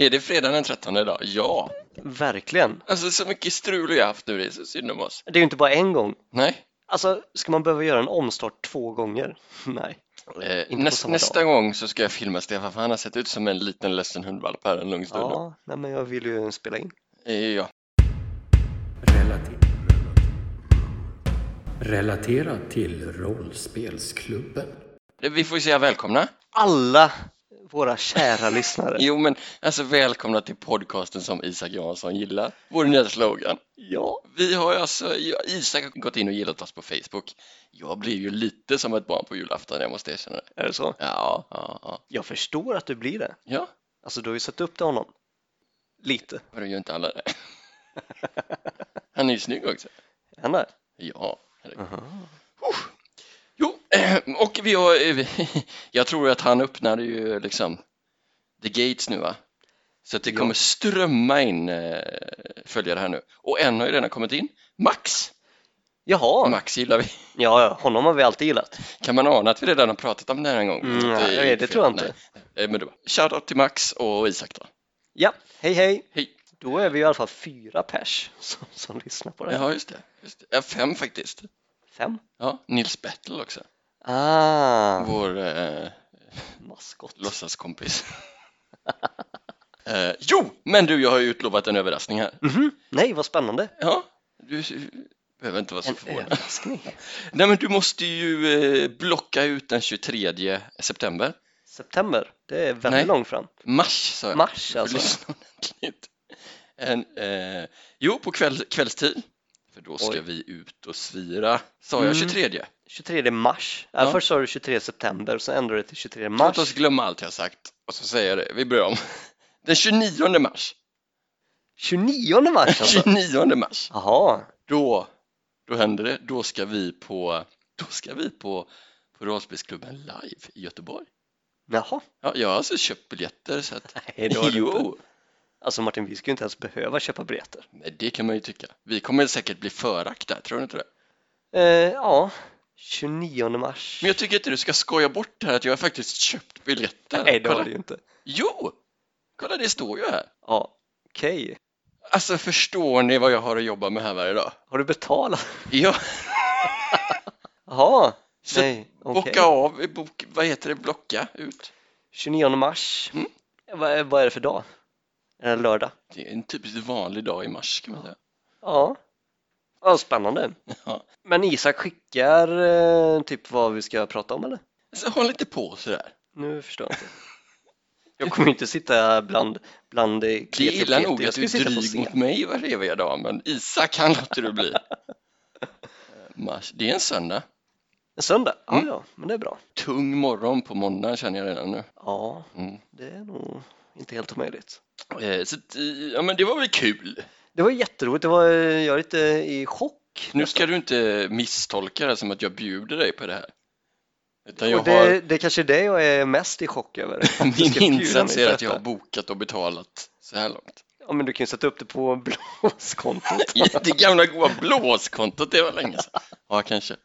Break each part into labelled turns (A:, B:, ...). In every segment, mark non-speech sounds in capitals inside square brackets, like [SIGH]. A: Är det fredag den 13 idag? Ja!
B: Verkligen.
A: Alltså så mycket strul jag haft nu, det är så synd om oss.
B: Det är ju inte bara en gång.
A: Nej,
B: Alltså, ska man behöva göra en omstart två gånger? [LAUGHS] Nej.
A: eh,
B: på
A: näst,
B: samma
A: nästa gång så ska jag filma Stefan för han har sett ut som en liten ledsen hundvalp här en lång stund.
B: Ja, nej, men jag vill ju spela in.
A: Eh, Ja.
C: Relativ. Relaterad till rollspelsklubben.
A: Det- Eh, Vi får ju säga välkomna.
B: Alla
A: [LAUGHS]
B: våra kära lyssnare.
A: Jo men alltså välkomna till podcasten som Isak Jansson gillar. Vår nya slogan.
B: Ja,
A: Vi har ju alltså, jag- Isak har gått in och gillat oss på Facebook. Jag blev ju lite som ett barn på julafton, jag måste erkänna det.
B: är det så?
A: Ja, ja, ja.
B: Jag förstår att du blir det.
A: Ja,
B: Alltså, du har ju sett upp till honom. Lite. [LAUGHS]
A: men det gör inte alla det. Han är ju snygg också.
B: Han är.
A: Ja, herregud. Jo, [CLEARS THROAT] och vi har, eh, vi- [LAUGHS] jag tror att han öppnade ju liksom the gates nu va? Så att det
B: Ja.
A: kommer strömma in eh, följare här nu. Och en har ju redan kommit in. Max!
B: Jaha,
A: Max gillar vi. [LAUGHS]
B: ja, ja, honom har vi alltid gillat.
A: Kan man ana att vi redan har pratat om det här en gång?
B: Mm, nej, det tror jag inte.
A: Nej. Eh, Men det var. Shoutout till Max och Isak då.
B: Ja, hej hej.
A: Hej.
B: Då är vi i alla fall fyra pers som, som lyssnar på det här.
A: Ja, just det. Just det. Ja, fem faktiskt.
B: Fem.
A: Ja, Nils Bettel också.
B: Ah,
A: Vår eh,
B: maskot.
A: låtsaskompis. [LAUGHS] eh, jo, men du, jag har ju utlovat en överraskning här.
B: Mhm. Nej, vad spännande.
A: Ja, du behöver inte vara så
B: En
A: förvånad.
B: överraskning.
A: [LAUGHS] Nej, men du måste ju eh, blocka ut den 23 september.
B: September, det är väldigt
A: Nej.
B: långt fram.
A: Mars sa jag.
B: Mars
A: Du får
B: alltså.
A: lyssna ordentligt. En, eh, jo, på kväll, kvällstid. För då ska
B: Oj.
A: vi ut och svira. Sa jag
B: Mm.
A: 23?
B: 23 mars. Ja.
A: Ja.
B: Först sa du 23 september, sen ändrade du till 23
A: Låt
B: mars.
A: oss glömma allt jag sagt och så säger jag det. Vi börjar om. [LAUGHS] Den 29 mars.
B: 29
A: [LAUGHS]
B: mars alltså?
A: 29 mars.
B: Jaha,
A: Då, då händer det. Då ska vi på, då ska vi på, på rollspelsklubben live i Göteborg.
B: jaha.
A: Ja, jag har alltså köpt biljetter så att
B: Nej, det har du inte.
A: jo,
B: Alltså Martin, vi ska ju inte ens behöva köpa biljetter.
A: men det kan man ju tycka. Vi kommer säkert bli föraktade, tror du inte det?
B: Eh, ja, 29 mars.
A: Men jag tycker inte du ska skoja bort det här att jag har faktiskt köpt biljetter.
B: Nej, det har
A: Kolla.
B: du ju inte.
A: Jo! Kolla, det står ju här.
B: Ja, okej.
A: Alltså förstår ni vad jag har att jobba med här varje dag?
B: Har du betalat?
A: Ja,
B: Jaha,
A: så
B: nej, okej.
A: bocka av, bok, vad heter det, blocka ut.
B: 29 mars.
A: Mm.
B: Vad, är- vad är det för dag? Är det lördag?
A: Det är en typiskt vanlig dag i mars kan man säga.
B: Ja. Ja, spännande.
A: Ja.
B: Men Isak skickar eh, typ vad vi ska prata om eller?
A: Så Alltså, håll inte på sådär.
B: Nu förstår jag inte.
A: [LAUGHS]
B: Jag kommer ju inte sitta bland, bland eh,
A: Det är
B: kleti och
A: illa
B: pleti.
A: nog
B: Jag
A: att
B: ska
A: du
B: ju
A: är
B: sitta på
A: dryg
B: scen.
A: mot mig var eviga dag, men Isak han låter du bli. Eh, [LAUGHS] mars, det är en söndag.
B: En söndag? Ja,
A: Mm.
B: ja, men det är bra.
A: Tung morgon på måndag känner jag redan nu.
B: Ja,
A: Mm.
B: det är nog inte helt omöjligt.
A: Eh, Så, att, eh, ja men det var väl kul.
B: Det var jätteroligt. Det var, eh, jag är lite i chock.
A: Nu ska du inte misstolka det som att jag bjuder dig på det här. Utan jag
B: Och [LAUGHS] det,
A: har,
B: det är kanske är det jag är mest i
A: [LAUGHS]
B: chock över. Att du ska
A: min
B: bjuda
A: insats
B: mig
A: är
B: på
A: att jag har
B: detta.
A: bokat och betalat så här långt.
B: Ja, men du kan ju sätta upp det på [LAUGHS] blåskontot.
A: I Det gamla goa blåskontot, det var länge sedan. Ja, kanske.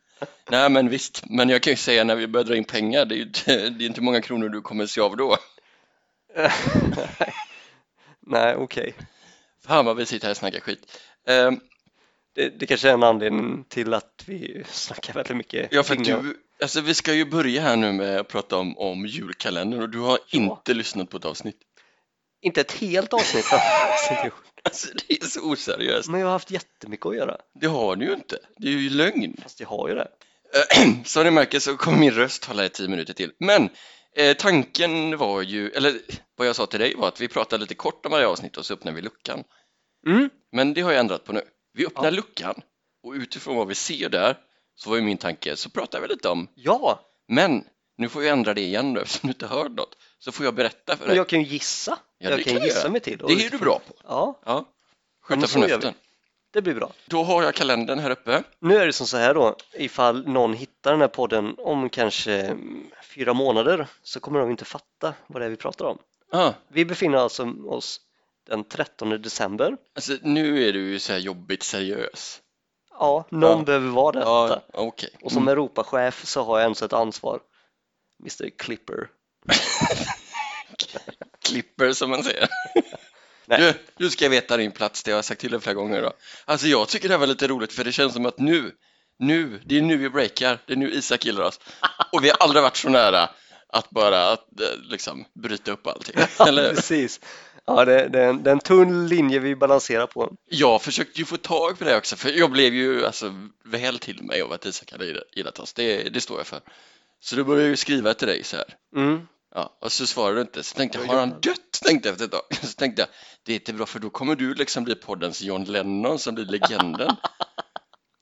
A: Nej, men visst. Men jag kan ju säga när vi börjar dra in pengar, det är ju inte, det är inte många kronor du kommer se av då.
B: [LAUGHS] Nej, okej.
A: Fan vad vi sitter här och snackar skit. Ehm,
B: Det, det kanske är en anledning till att vi snackar väldigt mycket.
A: Ja, för att
B: kring-
A: du, alltså vi ska ju börja här nu med att prata om, om julkalendern och du har inte lyssnat på ett avsnitt. [LAUGHS]
B: Inte ett helt avsnitt har jag faktiskt inte gjort.
A: Alltså det är så oseriöst.
B: Men jag har haft jättemycket att göra.
A: Det har du ju inte. Det är ju lögn. [CLEARS THROAT]
B: Fast jag har ju det.
A: Som ni märker så kommer min röst hålla i tio minuter till. Men eh, tanken var ju, eller vad jag sa till dig var att vi pratade lite kort om varje avsnitt och så öppnar vi luckan.
B: Mm.
A: Men det har jag ändrat på nu. Vi öppnar
B: Ja.
A: luckan och utifrån vad vi ser där så var ju min tanke, så pratar vi lite om,
B: Ja,
A: men nu får vi ändra det igen då [LAUGHS] eftersom du inte hörde något. Så får jag berätta för
B: men
A: dig.
B: jag kan ju gissa.
A: Ja, det
B: jag
A: kan
B: kan
A: jag
B: gissa
A: göra.
B: mig till. och
A: Det är du
B: utifrån-
A: bra på.
B: Ja,
A: Ja.
B: Ja,
A: Skjuta
B: men så
A: från
B: gör vi.
A: höften.
B: det blir bra.
A: Då har jag kalendern här uppe.
B: Nu är det som så här då, ifall någon hittar den här podden om kanske mm, fyra månader så kommer de inte fatta vad det är vi pratar om.
A: Ah,
B: Vi befinner alltså oss den 13 december.
A: alltså, nu är du ju så här jobbigt seriös.
B: Ja, någon
A: Ja.
B: behöver vara detta.
A: Ja, okej.
B: Och som Europachef så har jag ens ett ansvar. Mr Clipper.
A: klipper som man säger.
B: Nej.
A: Du, du ska veta din plats, det har jag sagt till dig flera gånger idag. Alltså jag tycker det här var lite roligt för det känns som att nu, nu, det är nu vi breakar, det är nu Isak gillar oss. Och vi har aldrig varit så nära att bara att, eh, liksom bryta upp allting. [LAUGHS]
B: Ja,
A: Eller? hur?
B: precis. Ja, det, det, är en, det är en tunn linje vi balanserar på.
A: Jag försökte ju få tag på det också för jag blev ju alltså väl till mig av att Isak hade gillat oss, det, det står jag för. Så då började jag ju skriva till dig så här.
B: Mm.
A: Ja, och så svarade du inte. Så tänkte jag,
B: Oj,
A: har
B: oj,
A: han dött? Tänkte jag efter ett tag. [LAUGHS] Så tänkte jag, det är inte bra för då kommer du liksom bli poddens John Lennon som blir legenden.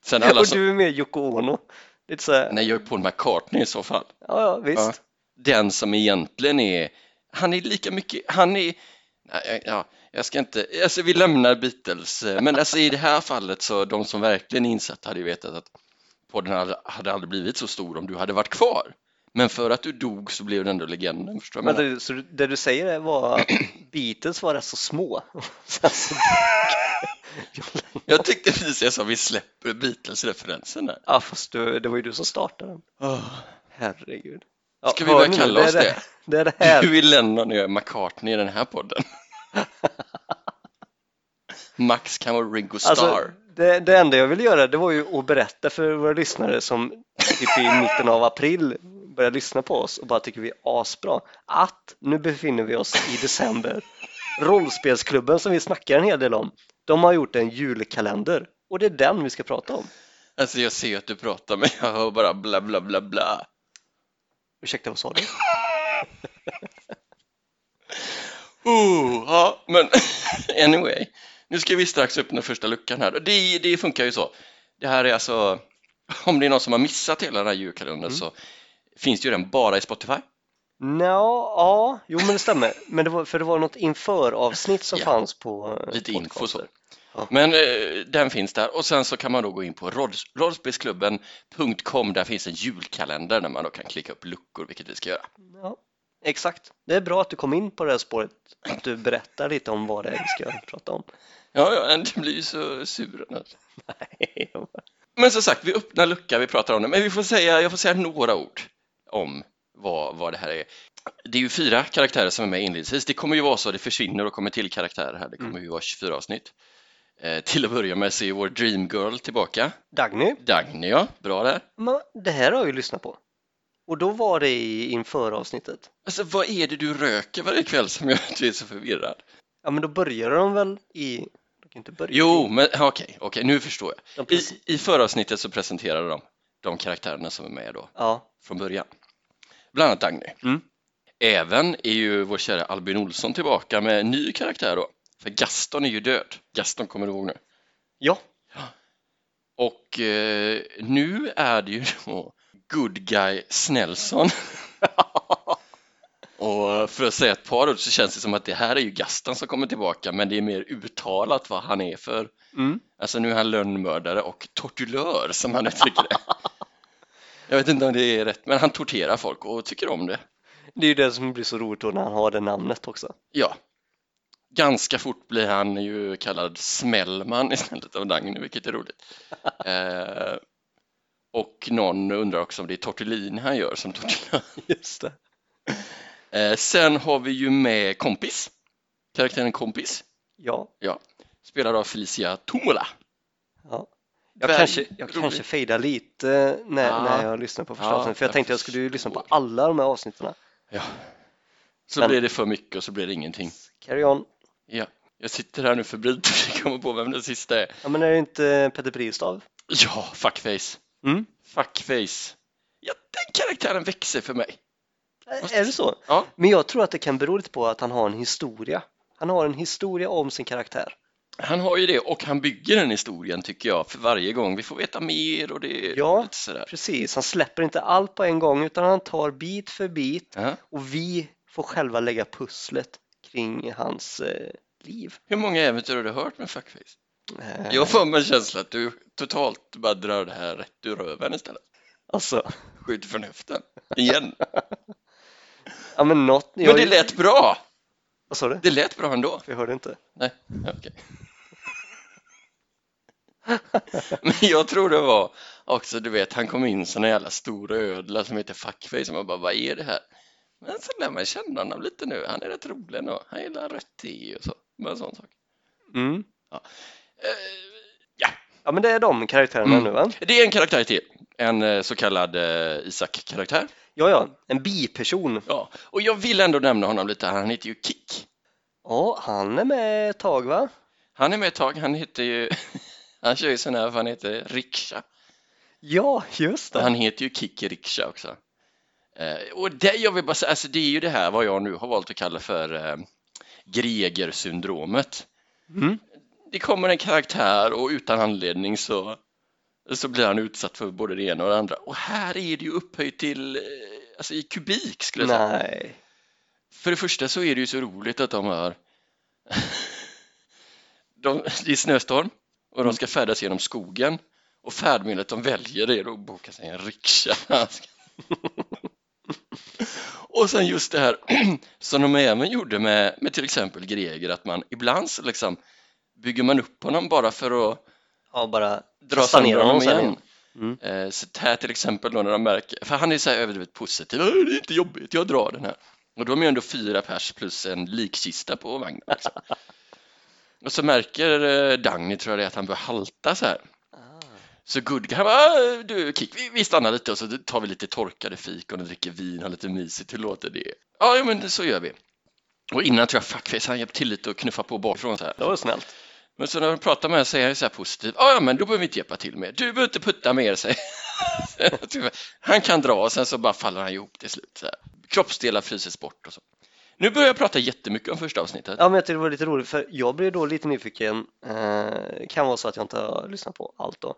A: Sen alla
B: Och
A: som,
B: du är med Yoko Ono. Lite så här,
A: nej jag är Paul McCartney i så fall.
B: ja, ja, visst.
A: Ja. Den som egentligen är, han är lika mycket, han är, nej, jag- ja, jag ska inte, alltså vi lämnar Beatles, eh, men alltså i det här fallet så de som verkligen är insatta hade ju vetat att podden hade, hade aldrig blivit så stor om du hade varit kvar. Men för att du dog så blev du ändå legenden, förstår du? vad jag
B: Men
A: menar?
B: det, så det du säger är var att [CLEARS THROAT] Beatles var rätt så små. [LAUGHS] Sen så- alltså,
A: Jag tyckte precis jag sa vi släpper Beatles-referensen där.
B: ja, fast du, det var ju du som startade den. Herregud. Ja,
A: Ska vi
B: hör
A: börja
B: ni?
A: kalla
B: det är
A: oss
B: det? Det är det här.
A: Du är Lennon och jag är McCartney i den här podden. Max kan vara Ringo Starr.
B: Alltså, det, det enda jag ville göra det var ju att berätta för våra lyssnare som typ i mitten av april började lyssna på oss och bara tycker vi är asbra att nu befinner vi oss i december. Rollspelsklubben som vi snackar en hel del om, de har gjort en julkalender och det är den vi ska prata om.
A: Alltså jag ser att du pratar men jag hör bara bla bla bla bla.
B: Ursäkta, vad sa du?
A: Oh, ja, men [LAUGHS] anyway. Nu ska vi strax öppna första luckan här. Det, det funkar ju så. Det här är alltså, om det är någon som har missat hela den här julkalendern så finns det ju den bara i Spotify.
B: Nå, ja, jo men det stämmer. Men det var, för det var något införavsnitt som
A: Ja.
B: fanns på eh,
A: lite info så.
B: podcaster. Ja.
A: Men eh, den finns där och sen så kan man då gå in på rolls- rollspelsklubben.com. Där finns en julkalender där man då kan klicka upp luckor, vilket vi ska göra.
B: Ja, exakt. Det är bra att du kom in på det här spåret, att du berättar lite om vad det är vi ska prata om.
A: Ja, ja, men det blir ju så sur. annars.
B: Nej, jag bara-
A: Men som sagt, vi öppnar luckan, vi pratar om det. Men vi får säga, jag får säga några ord om vad, vad det här är. Det är ju fyra karaktärer som är med inledningsvis. Det kommer ju vara så, det försvinner och kommer till karaktärer här. Det kommer ju vara 24 avsnitt. Eh, till att börja med så är vår Dreamgirl tillbaka.
B: [LAUGHS] Dagny,
A: Dagny, ja, bra där.
B: men det här har jag ju lyssnat på. Och då var det i införavsnittet.
A: Alltså vad är det du röker varje kväll som gör att du är så förvirrad?
B: Ja, men då började de väl i... De kan inte börja
A: Jo,
B: i-
A: men okej, okej, nu förstår
B: De
A: jag. I,
B: pres-
A: I förra avsnittet så presenterade de de karaktärerna som är med då
B: Ja,
A: från början. Bland annat Dagny.
B: Mm.
A: Även är ju vår kära Albin Olsson tillbaka med en ny karaktär då. För Gaston är ju död. Gaston kommer du ihåg nu.
B: ja,
A: Och eh, nu är det ju då good guy Snellson. Och för att säga ett par ord så känns det som att det här är ju Gaston som kommer tillbaka men det är mer uttalat vad han är för.
B: mm.
A: Alltså nu är han lönnmördare och tortulör som han uttrycker det. Jag vet inte om det är rätt men han torterar folk och tycker om det.
B: det är ju det som blir så roligt då när han har det namnet också.
A: Ja. Ganska fort blir han ju kallad Smällman [LAUGHS] istället av Dagny, vilket är roligt. Eh, och någon undrar också om det är tortellini han gör som tortellini.
B: Just det.
A: [LAUGHS] Eh, sen har vi ju med Kompis, karaktären Kompis,
B: Ja,
A: spelad av Felicia Tomola.
B: Ja. Jag
A: Väl-
B: kanske, jag
A: roligt.
B: kanske fejdar lite när,
A: Ja.
B: när jag lyssnar på första
A: Ja,
B: avsnittet, för jag
A: jag
B: tänkte jag skulle ju lyssna på
A: förstår.
B: alla de här avsnitten.
A: Så
B: Men-
A: blir det för mycket och så blir det ingenting.
B: Carry on.
A: Ja. Jag sitter här nu [LAUGHS] febrilt och försöker komma på vem den sista är.
B: Ja, men är det inte Peter Bristav?
A: Ja, fuckface.
B: Mm.
A: Fuckface. Ja, den karaktären växer för mig.
B: Ä- Är det så?
A: Ja.
B: Men jag tror att det kan bero lite på att han har en historia. Han har en historia om sin karaktär.
A: Han har ju det och han bygger den historien tycker jag för varje gång. Vi får veta mer och det är
B: Ja.
A: lite sådär.
B: Precis, han släpper inte allt på en gång utan han tar bit för bit
A: Ja.
B: och vi får själva lägga pusslet kring hans eh, liv.
A: Hur många äventyr har du hört med Fuckface?
B: Eh,
A: Jag får en känsla att du totalt bara drar det här rätt ur röven istället.
B: Alltså,
A: Skjut från höften. Igen.
B: ja men något...
A: Men det lät bra.
B: Vad sa du?
A: Det lät bra ändå.
B: Vi hörde inte.
A: Nej, okej. [LAUGHS] Men jag tror det var också, du vet, han kom in som en jävla stor ödla som heter Fuckface och man bara, vad är det här? Men sen lär man känna honom lite nu. Han är rätt rolig ändå. Han gillar rött te och så. Bara en sån sak.
B: Mm.
A: Eh,
B: Ja men det är de karaktärerna
A: Mm.
B: nu va?
A: Det är en karaktär till. En eh, så kallad eh, Isak-karaktär.
B: Ja ja, en biperson.
A: Ja, och jag vill ändå nämna honom lite här. Han heter ju Kick.
B: Ja, han är med ett tag va?
A: Han är med ett tag. Han heter ju... [LAUGHS] Han kör ju sån här, vad han heter, Riksha.
B: Ja, just det.
A: Han heter ju Kick Riksha också. Eh, och det jag vill bara säga, alltså det är ju det här vad jag nu har valt att kalla för eh, Greger-syndromet.
B: Mm.
A: Det kommer en karaktär och utan anledning så, så blir han utsatt för både det ena och det andra. Och här är det ju upphöjt till, eh, alltså i kubik skulle jag säga.
B: Nej.
A: För det första så är det ju så roligt att de är... [LAUGHS] de, det är snöstorm och de ska färdas genom skogen och färdmedlet de väljer är att boka sig en riksha. [LAUGHS] och sen just det här [CLEARS THROAT] som de även gjorde med, med till exempel Greger att man ibland så liksom bygger man upp honom bara för att
B: Ja, bara
A: dra
B: Sanera
A: sönder honom
B: honom sen
A: igen.
B: igen. Mm.
A: Eh, Så här till exempel då när de märker, för han är så här överdrivet positiv, "Åh, det är inte jobbigt, jag drar den här. Och då är ju ändå fyra pers plus en likkista på vagnen.
B: [LAUGHS]
A: Liksom. och så märker eh, Dagny, tror jag det är, att han börjar halta så här. Så Gudge, han bara, "Äh, du Kick, vi, vi stannar lite och så tar vi lite torkade fikon och dricker vin, har lite mysigt, hur låter det? Ja, ja, men så gör vi. Och innan tror jag fuckface, han hjälpte till lite och knuffa på bakifrån så här.
B: det var snällt.
A: Men så när de pratar med henne säger han så här positivt. Ja, ja, men då behöver vi inte hjälpa till mer. Du behöver inte putta mer, säger [LAUGHS] han. Typ, Han kan dra och sen så bara faller han ihop till slut. Så här. Kroppsdelar fryses bort och så. Nu börjar jag prata jättemycket om första avsnittet.
B: Ja, men jag tyckte det var lite roligt för jag blev då lite nyfiken. Eh, kan vara så att jag inte har lyssnat på allt då.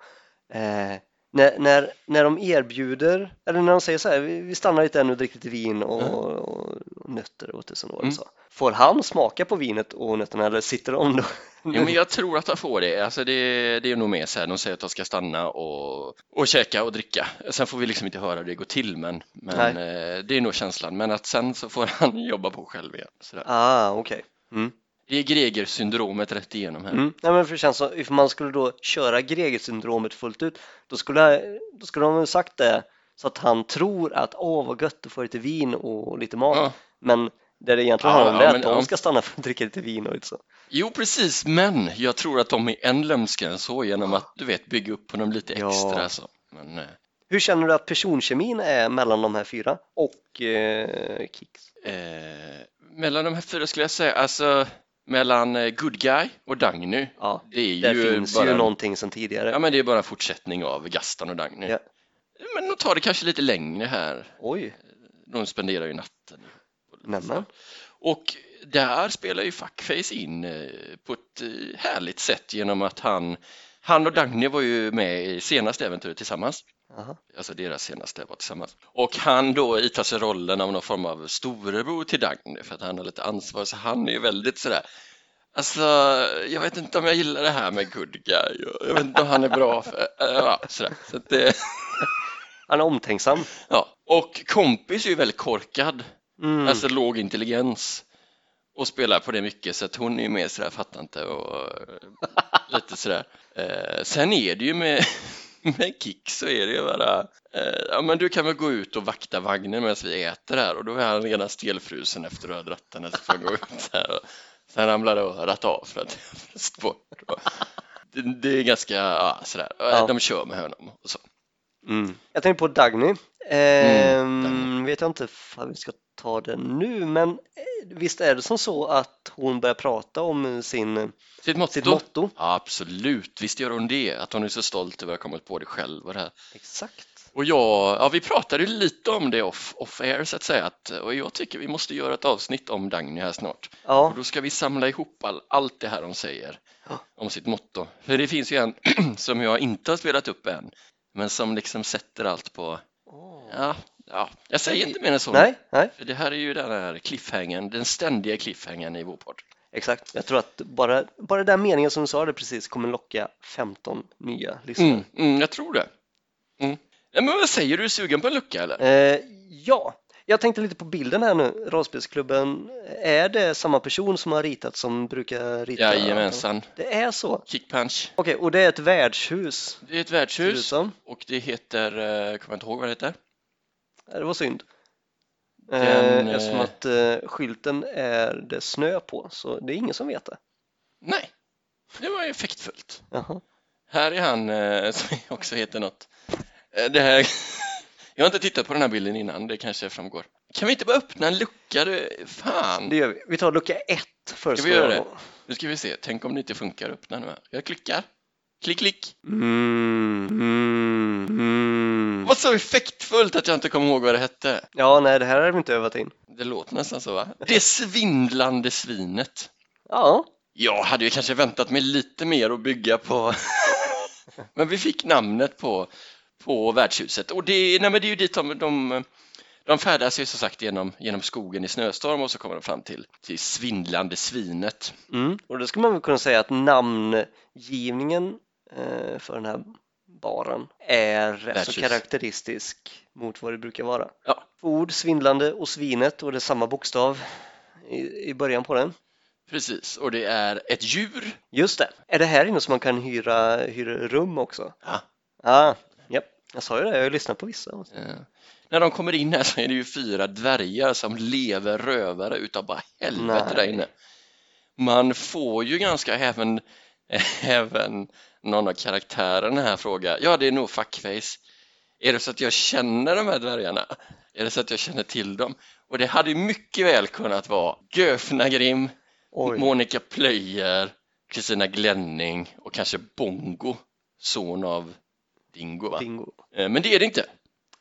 B: Eh, när, när, när de erbjuder, eller när de säger så här, vi, vi stannar lite ännu och dricker lite vin och,
A: Mm.
B: och, och nötter och tusen år
A: Mm.
B: och så. Får han smaka på vinet och nötterna eller sitter de då?
A: Jo, men jag tror att han får det. Alltså, det, det är nog med sen. De säger att de ska stanna och, och käka och dricka. Sen får vi liksom inte höra hur det går till, men, men eh, det är nog känslan. Men att sen så får han [LAUGHS] jobba på själv igen. Sådär.
B: Ah, okej. Mm.
A: Det är Greger-syndromet rätt igenom här.
B: Mm. Nej, men för det känns som, ifall man skulle då köra Gregersyndromet fullt ut, då skulle, då skulle de ha sagt det så att han tror att åh vad gött, du får lite vin och lite mat.
A: Ja.
B: Men där det egentligen
A: Ja,
B: handlar om
A: ja,
B: det,
A: men-
B: att de
A: ja.
B: ska stanna för att dricka lite vin och lite så.
A: Jo, precis, men jag tror att de är än lömskare än så genom att du vet bygga upp honom lite
B: Ja.
A: extra. Så. Men, eh,
B: Hur känner du att personkemin är mellan de här fyra och eh, Kicks?
A: eh, mellan de här fyra skulle jag säga, alltså mellan eh, Good Guy och Dagny,
B: Ja,
A: det är
B: där
A: ju
B: finns
A: bara,
B: ju någonting sedan tidigare.
A: ja, men det är bara en fortsättning av Gaston och Dagny.
B: Ja.
A: Men de tar det kanske lite längre här,
B: Oj,
A: de spenderar ju natten.
B: nämen.
A: Och där spelar ju Fuckface in eh, på ett eh, härligt sätt genom att han, han och Dagny var ju med i senaste äventyret tillsammans.
B: Jaha.
A: alltså deras senaste var tillsammans. Och han då itar sig rollen av någon form av storebror till Dagny för att han har lite ansvar så han är ju väldigt sådär Alltså, jag vet inte om jag gillar det här med good guy. och Jag vet inte om han är bra för... äh, Ja, sådär. Så att det,
B: Han är omtänksam.
A: ja. Och kompis är ju väldigt korkad,
B: Mm.
A: alltså låg intelligens och spelar på det mycket så att hon är ju mer sådär, fattar inte och eh, lite sådär. Eh, sen är det ju med, [LAUGHS] med Kick så är det ju bara, eh, ja men du kan väl gå ut och vakta vagnen medan vi äter här och då är han redan stelfrusen efter att ha dratt den så får han gå ut här och sen ramlar örat av för att jag fryst bort. Och Det, det är ganska, ja sådär, Eh,
B: Ja.
A: de kör med honom och så.
B: Mm. Jag tänkte på Dagny.
A: Mm,
B: Ehm, Vet jag inte om vi ska ta det nu, men eh, visst är det som så att hon börjar prata om sin, eh,
A: Sitt motto.
B: sitt motto?
A: Ja, absolut, visst gör hon det, att hon är så stolt över att ha kommit på det själv och det här.
B: Exakt.
A: Och jag, ja, vi pratade ju lite om det off, off air så att säga att, och jag tycker vi måste göra ett avsnitt om Dagny här snart.
B: Ja,
A: Och då ska vi samla ihop all, allt det här de säger
B: Ja.
A: om sitt motto. För det finns ju en [CLEARS THROAT] som jag inte har spelat upp än, men som liksom sätter allt på, ja, ja jag säger inte mer än så.
B: nej, nej,
A: För det här är ju den här cliffhangern, den ständiga cliffhangern i vår podd.
B: exakt. Jag tror att bara, bara den meningen som du sa det precis kommer locka 15 nya lyssnare.
A: Mm, mm, jag tror det. Mm. Ja, men vad säger du, är du sugen på en lucka eller?
B: Eh, ja, jag tänkte lite på bilden här nu. Rollspelsklubben, är det samma person som har ritat som brukar rita?
A: Jajamensan,
B: Det är så.
A: kick punch.
B: Okej, och det är ett värdshus.
A: Det är ett
B: ser det ut
A: värdshus.
B: som.
A: Och det heter, eh, kommer jag inte ihåg vad det heter.
B: Ja, Det var synd.
A: Den,
B: eh, eftersom
A: eh,
B: att eh, skylten är det snö på så det är ingen som vet det.
A: Nej, det var ju effektfullt.
B: Jaha.
A: Här är han eh, [LAUGHS] som också heter något. Eh, Det här... [LAUGHS] Jag har inte tittat på den här bilden innan, det kanske framgår. Kan vi inte bara öppna en lucka? du?
B: Det
A: Fan!
B: gör vi. Vi tar lucka ett först.
A: Ska vi göra det? Nu ska vi se, tänk om det inte funkar. Öppna nu här. Jag klickar. Klick, klick!
B: Mm, mm, mm.
A: Vad så effektfullt att jag inte kommer ihåg vad det hette.
B: Ja, nej, det här har vi inte övat in.
A: Det låter nästan så va? Det svindlande svinet.
B: Ja,
A: Jag hade ju kanske väntat mig lite mer att bygga på. [LAUGHS] men vi fick namnet på, på värdshuset och det, nej men det är ju dit de, de, de färdas ju som sagt genom, genom skogen i snöstorm och så kommer de fram till, till svindlande svinet.
B: mm. och då skulle man väl kunna säga att namngivningen eh, för den här baren är rätt så
A: Världshus.
B: karaktäristisk mot vad det brukar vara.
A: Ja.
B: Ord, svindlande och svinet och det är samma bokstav i, i början på den.
A: Precis, och det är ett djur.
B: Just det. Är det här inne som man kan hyra, hyra rum också?
A: Ja.
B: Ah, japp. Jag sa ju det, jag har ju lyssnat på vissa.
A: Eh, När de kommer in här så är det ju fyra dvärgar som lever rövare utav bara helvete
B: Nej.
A: där inne. Man får ju ganska även, [LAUGHS] även någon av karaktärerna här fråga, ja det är nog fuckface. Är det så att jag känner de här dvärgarna? Är det så att jag känner till dem? Och det hade ju mycket väl kunnat vara Göfna Grimm,
B: Oj.
A: Monica Plöjer, Kristina Glänning och kanske Bongo, son av Dingo va?
B: Bingo.
A: Eh, Men det är det inte.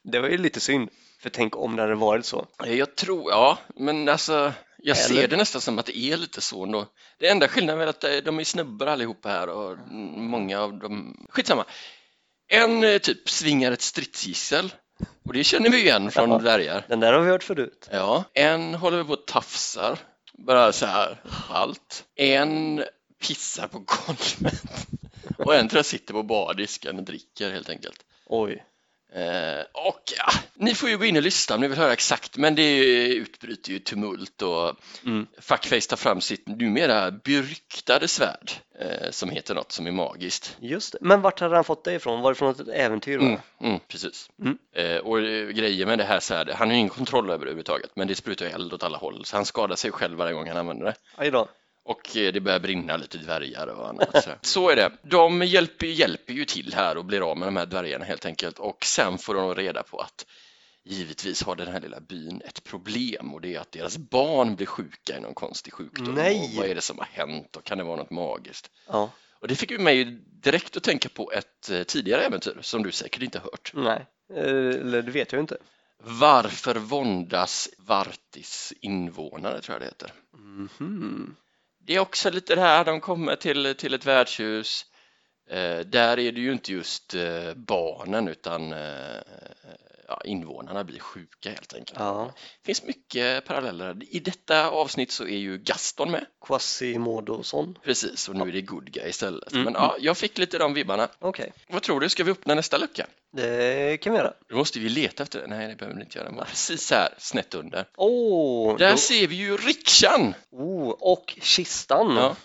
B: Det var ju lite synd, för tänk om det hade varit så.
A: Eh, Jag tror, ja, men alltså jag
B: Eller?
A: ser det nästan som att det är lite så ändå. Det enda skillnaden är att eh, de är snubbar allihopa här och mm, många av dem, skitsamma. En eh, typ svingar ett stridsgissel och det känner vi ju igen från
B: Ja.
A: dvärgar.
B: Den där har vi hört förut.
A: Ja, en håller på och tafsar, bara så här allt. En pissar på golvet [LAUGHS] och en tror jag sitter på bardisken och dricker helt enkelt.
B: Oj.
A: Eh, och ja, ni får ju gå in och lyssna om ni vill höra exakt, men det utbryter ju tumult och
B: Mm.
A: Fuckface tar fram sitt numera beryktade svärd eh, som heter något som är magiskt.
B: Just det. Men vart hade han fått det ifrån? Var det från ett äventyr? Va?
A: Mm, mm, precis.
B: Mm.
A: Eh, och eh, grejer med det här svärdet, han har ju ingen kontroll över det överhuvudtaget, men det sprutar ju eld åt alla håll, så han skadar sig själv varje gång han använder det.
B: Aj då.
A: Och eh, det börjar brinna lite dvärgar och annat. Så, [LAUGHS] så är det. De hjälper, hjälper ju till här och blir av med de här dvärgarna helt enkelt. Och sen får de reda på att givetvis har den här lilla byn ett problem och det är att deras barn blir sjuka i någon konstig sjukdom.
B: Nej.
A: Och vad är det som har hänt och kan det vara något magiskt?
B: Ja.
A: Och det fick ju mig direkt att tänka på ett eh, tidigare äventyr som du säkert inte hört.
B: Nej. Eh, Eller det vet jag ju inte.
A: Varför våndas Vartis invånare tror jag det heter.
B: Mhm.
A: det är också lite det här, de kommer till, till ett värdshus. Eh, där är det ju inte just eh, barnen utan eh, ja, invånarna blir sjuka helt enkelt.
B: Ja.
A: Det finns mycket paralleller. I detta avsnitt så är ju Gaston med,
B: Quasimodosson.
A: precis, och nu är det Good Guy istället.
B: Mm.
A: Men ja, jag fick lite de vibbarna.
B: Okej,
A: Vad tror du, ska vi öppna nästa lucka?
B: det kan vi göra.
A: Då måste vi leta efter den. Nej, det behöver vi inte göra. Den var Precis här, snett under.
B: Åh!
A: Där
B: då-
A: ser vi ju rikshan!
B: oh, och kistan.
A: Ja.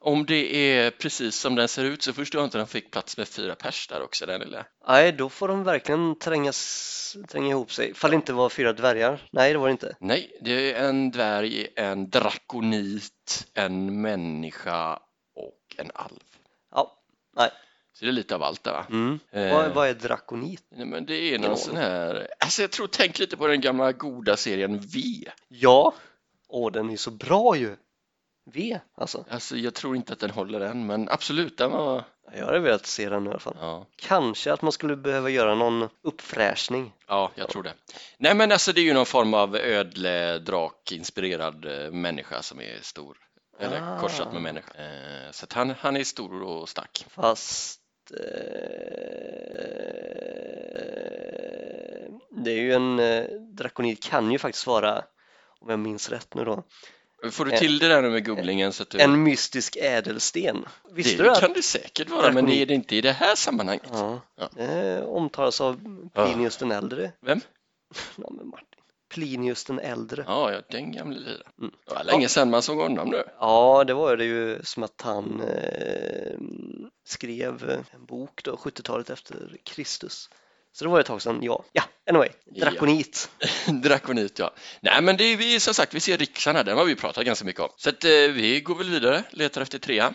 A: Om det är precis som den ser ut så förstår jag inte att de fick plats med fyra pers där också, den lilla.
B: Nej, då får de verkligen trängas, tränga ihop sig. Fall det inte var fyra dvärgar. Nej, det var det inte.
A: Nej, det är en dvärg, en drakonit, en människa och en alv.
B: Ja. Nej.
A: Så det är lite av allt där va?
B: Mm.
A: Eh.
B: Vad, vad är drakonit?
A: Nej, men det är någon
B: Ja.
A: sån här, alltså jag tror, tänk lite på den gamla goda serien V.
B: Ja. Åh, den är så bra ju. V, alltså.
A: Alltså jag tror inte att den håller än, men absolut, den var,
B: Jag hade velat se den i alla fall.
A: ja,
B: Kanske att man skulle behöva göra någon uppfräschning.
A: ja jag tror det. Nej men alltså det är ju någon form av ödledrak-inspirerad eh, människa som är stor. Eller
B: Ah.
A: korsat med människa. Eh, så att han, han är stor och stark.
B: Fast eh, det är ju en eh, drakonit kan ju faktiskt vara, om jag minns rätt nu då,
A: Får du
B: Eh,
A: till det där nu med googlingen så att du...
B: en mystisk ädelsten. Visste du
A: det
B: att?
A: kan det säkert vara, men det är det inte i det här sammanhanget.
B: Ja.
A: Ja.
B: Eh, omtalas av Plinius den äldre.
A: Vem?
B: [LAUGHS] Ja, men Martin. Plinius den äldre.
A: Ja, ja den gamle liraren.
B: Mm.
A: Det var länge sedan man såg honom nu. [LAUGHS]
B: Ja, det var det ju som att han eh, skrev en bok då, 70-talet efter Kristus. Så det var ett tag sedan, ja. Ja, Anyway,
A: Ja.
B: Drakonit.
A: Drakonit ja. Nej men det är vi som sagt, vi ser Rixan här, den har vi pratat ganska mycket om. Så att eh, vi går väl vidare, letar efter trea.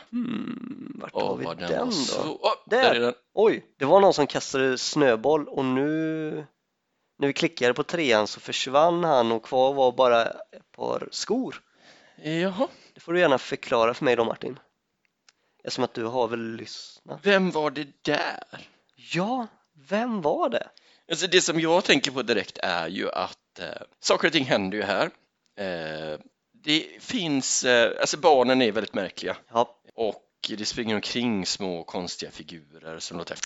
B: Vart har
A: Mm. Åh
B: vi
A: vad
B: den,
A: den, var
B: då?
A: så... Åh,
B: Där.
A: där. är den.
B: Oj, det var någon som kastade snöboll och nu när vi klickade på trean så försvann han och kvar var bara ett par skor.
A: Jaha,
B: Det får du gärna förklara för mig då Martin. Eftersom att du har väl lyssnat.
A: vem var det där?
B: Ja, vem var det?
A: Alltså det som jag tänker på direkt är ju att eh, saker och ting händer ju här. Eh, det finns, eh, alltså barnen är väldigt märkliga
B: Ja,
A: och det springer omkring små konstiga figurer som låter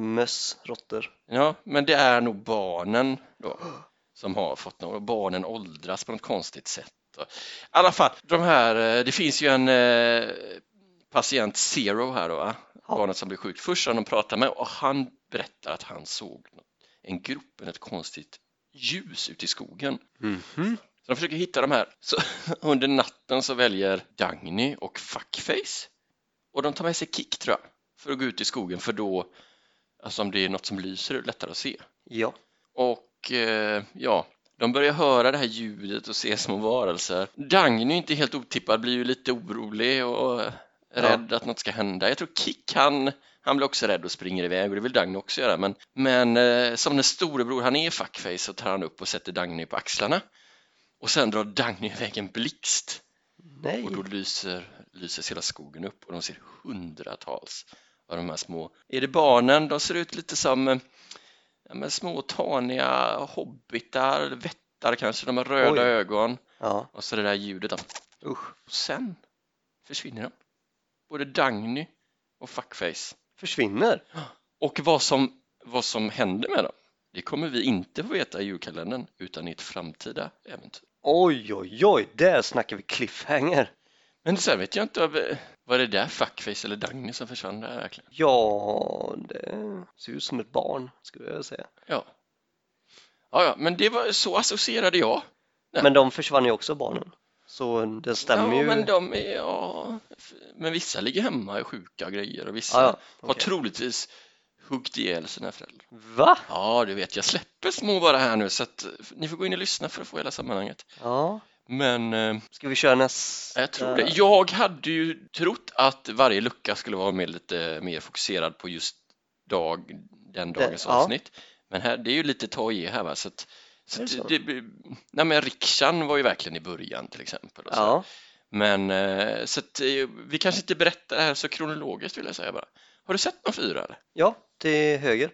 B: möss, råttor.
A: Ja, men det är nog barnen då som har fått något. Barnen åldras på något konstigt sätt. Och- I alla fall, de här, eh, det finns ju en eh, patient Zero här då, va?
B: Ja.
A: barnet som blir sjukt först som de pratar med och han berättar att han såg något- en grop med ett konstigt ljus ute i skogen. Så de försöker hitta de här. Så [LAUGHS] under natten så väljer Dagny och Fuckface och de tar med sig Kick tror jag för att gå ut i skogen för då, alltså om det är något som lyser är det lättare att se.
B: Ja,
A: Och eh, ja, de börjar höra det här ljudet och se små varelser. Dagny, inte helt otippad, blir ju lite orolig och eh, rädd att något ska hända. Jag tror Kick, han, han blir också rädd och springer iväg och det vill Dagny också göra. Men, men eh, som när storebror han är fuckface så tar han upp och sätter Dagny på axlarna. Och sen drar Dagny iväg en blixt
B: nej.
A: och då lyser, lyser hela skogen upp och de ser hundratals av de här små. Är det barnen? De ser ut lite som eh, ja, men små taniga hobbitar, eller vättar kanske. De har röda
B: Oj.
A: ögon
B: Ja,
A: och så det där ljudet. av-
B: usch.
A: Och sen försvinner de. Både Dagny och Fuckface.
B: Försvinner?
A: Och vad som, vad som händer med dem, det kommer vi inte få veta i julkalendern utan i ett framtida äventyr.
B: Oj, oj, oj, där snackar vi cliffhanger.
A: Men sen vet jag inte, av- var det där Fuckface eller Dagny som försvann där verkligen?
B: Ja, det ser ut som ett barn skulle jag säga.
A: Ja. ja, ja, men det var så associerade jag. Ja.
B: Men de försvann ju också barnen. Så den stämmer
A: ja,
B: ju.
A: men de är, ja, f- men vissa ligger hemma och är sjuka och grejer och vissa
B: Ja, ja,
A: har
B: okej.
A: troligtvis huggit ihjäl sina föräldrar.
B: Va?
A: Ja, du vet, jag släpper små bara här nu så att eh, ni får gå in och lyssna för att få hela sammanhanget.
B: Ja.
A: Men eh,
B: Ska vi köra nästa?
A: jag tror det. Jag hade ju trott att varje lucka skulle vara mer, lite mer fokuserad på just dag, den
B: Det-
A: dagens
B: ja.
A: avsnitt. Men här, det är ju lite ta och ge här va, så att så
B: Är
A: att
B: det så?
A: det, blir- nej men rikshan var ju verkligen i början till exempel. Och så.
B: Ja.
A: Men eh, så att, eh, vi kanske inte berättar det här så kronologiskt vill jag säga bara. Har du sett någon fyra? eller?
B: ja, till höger.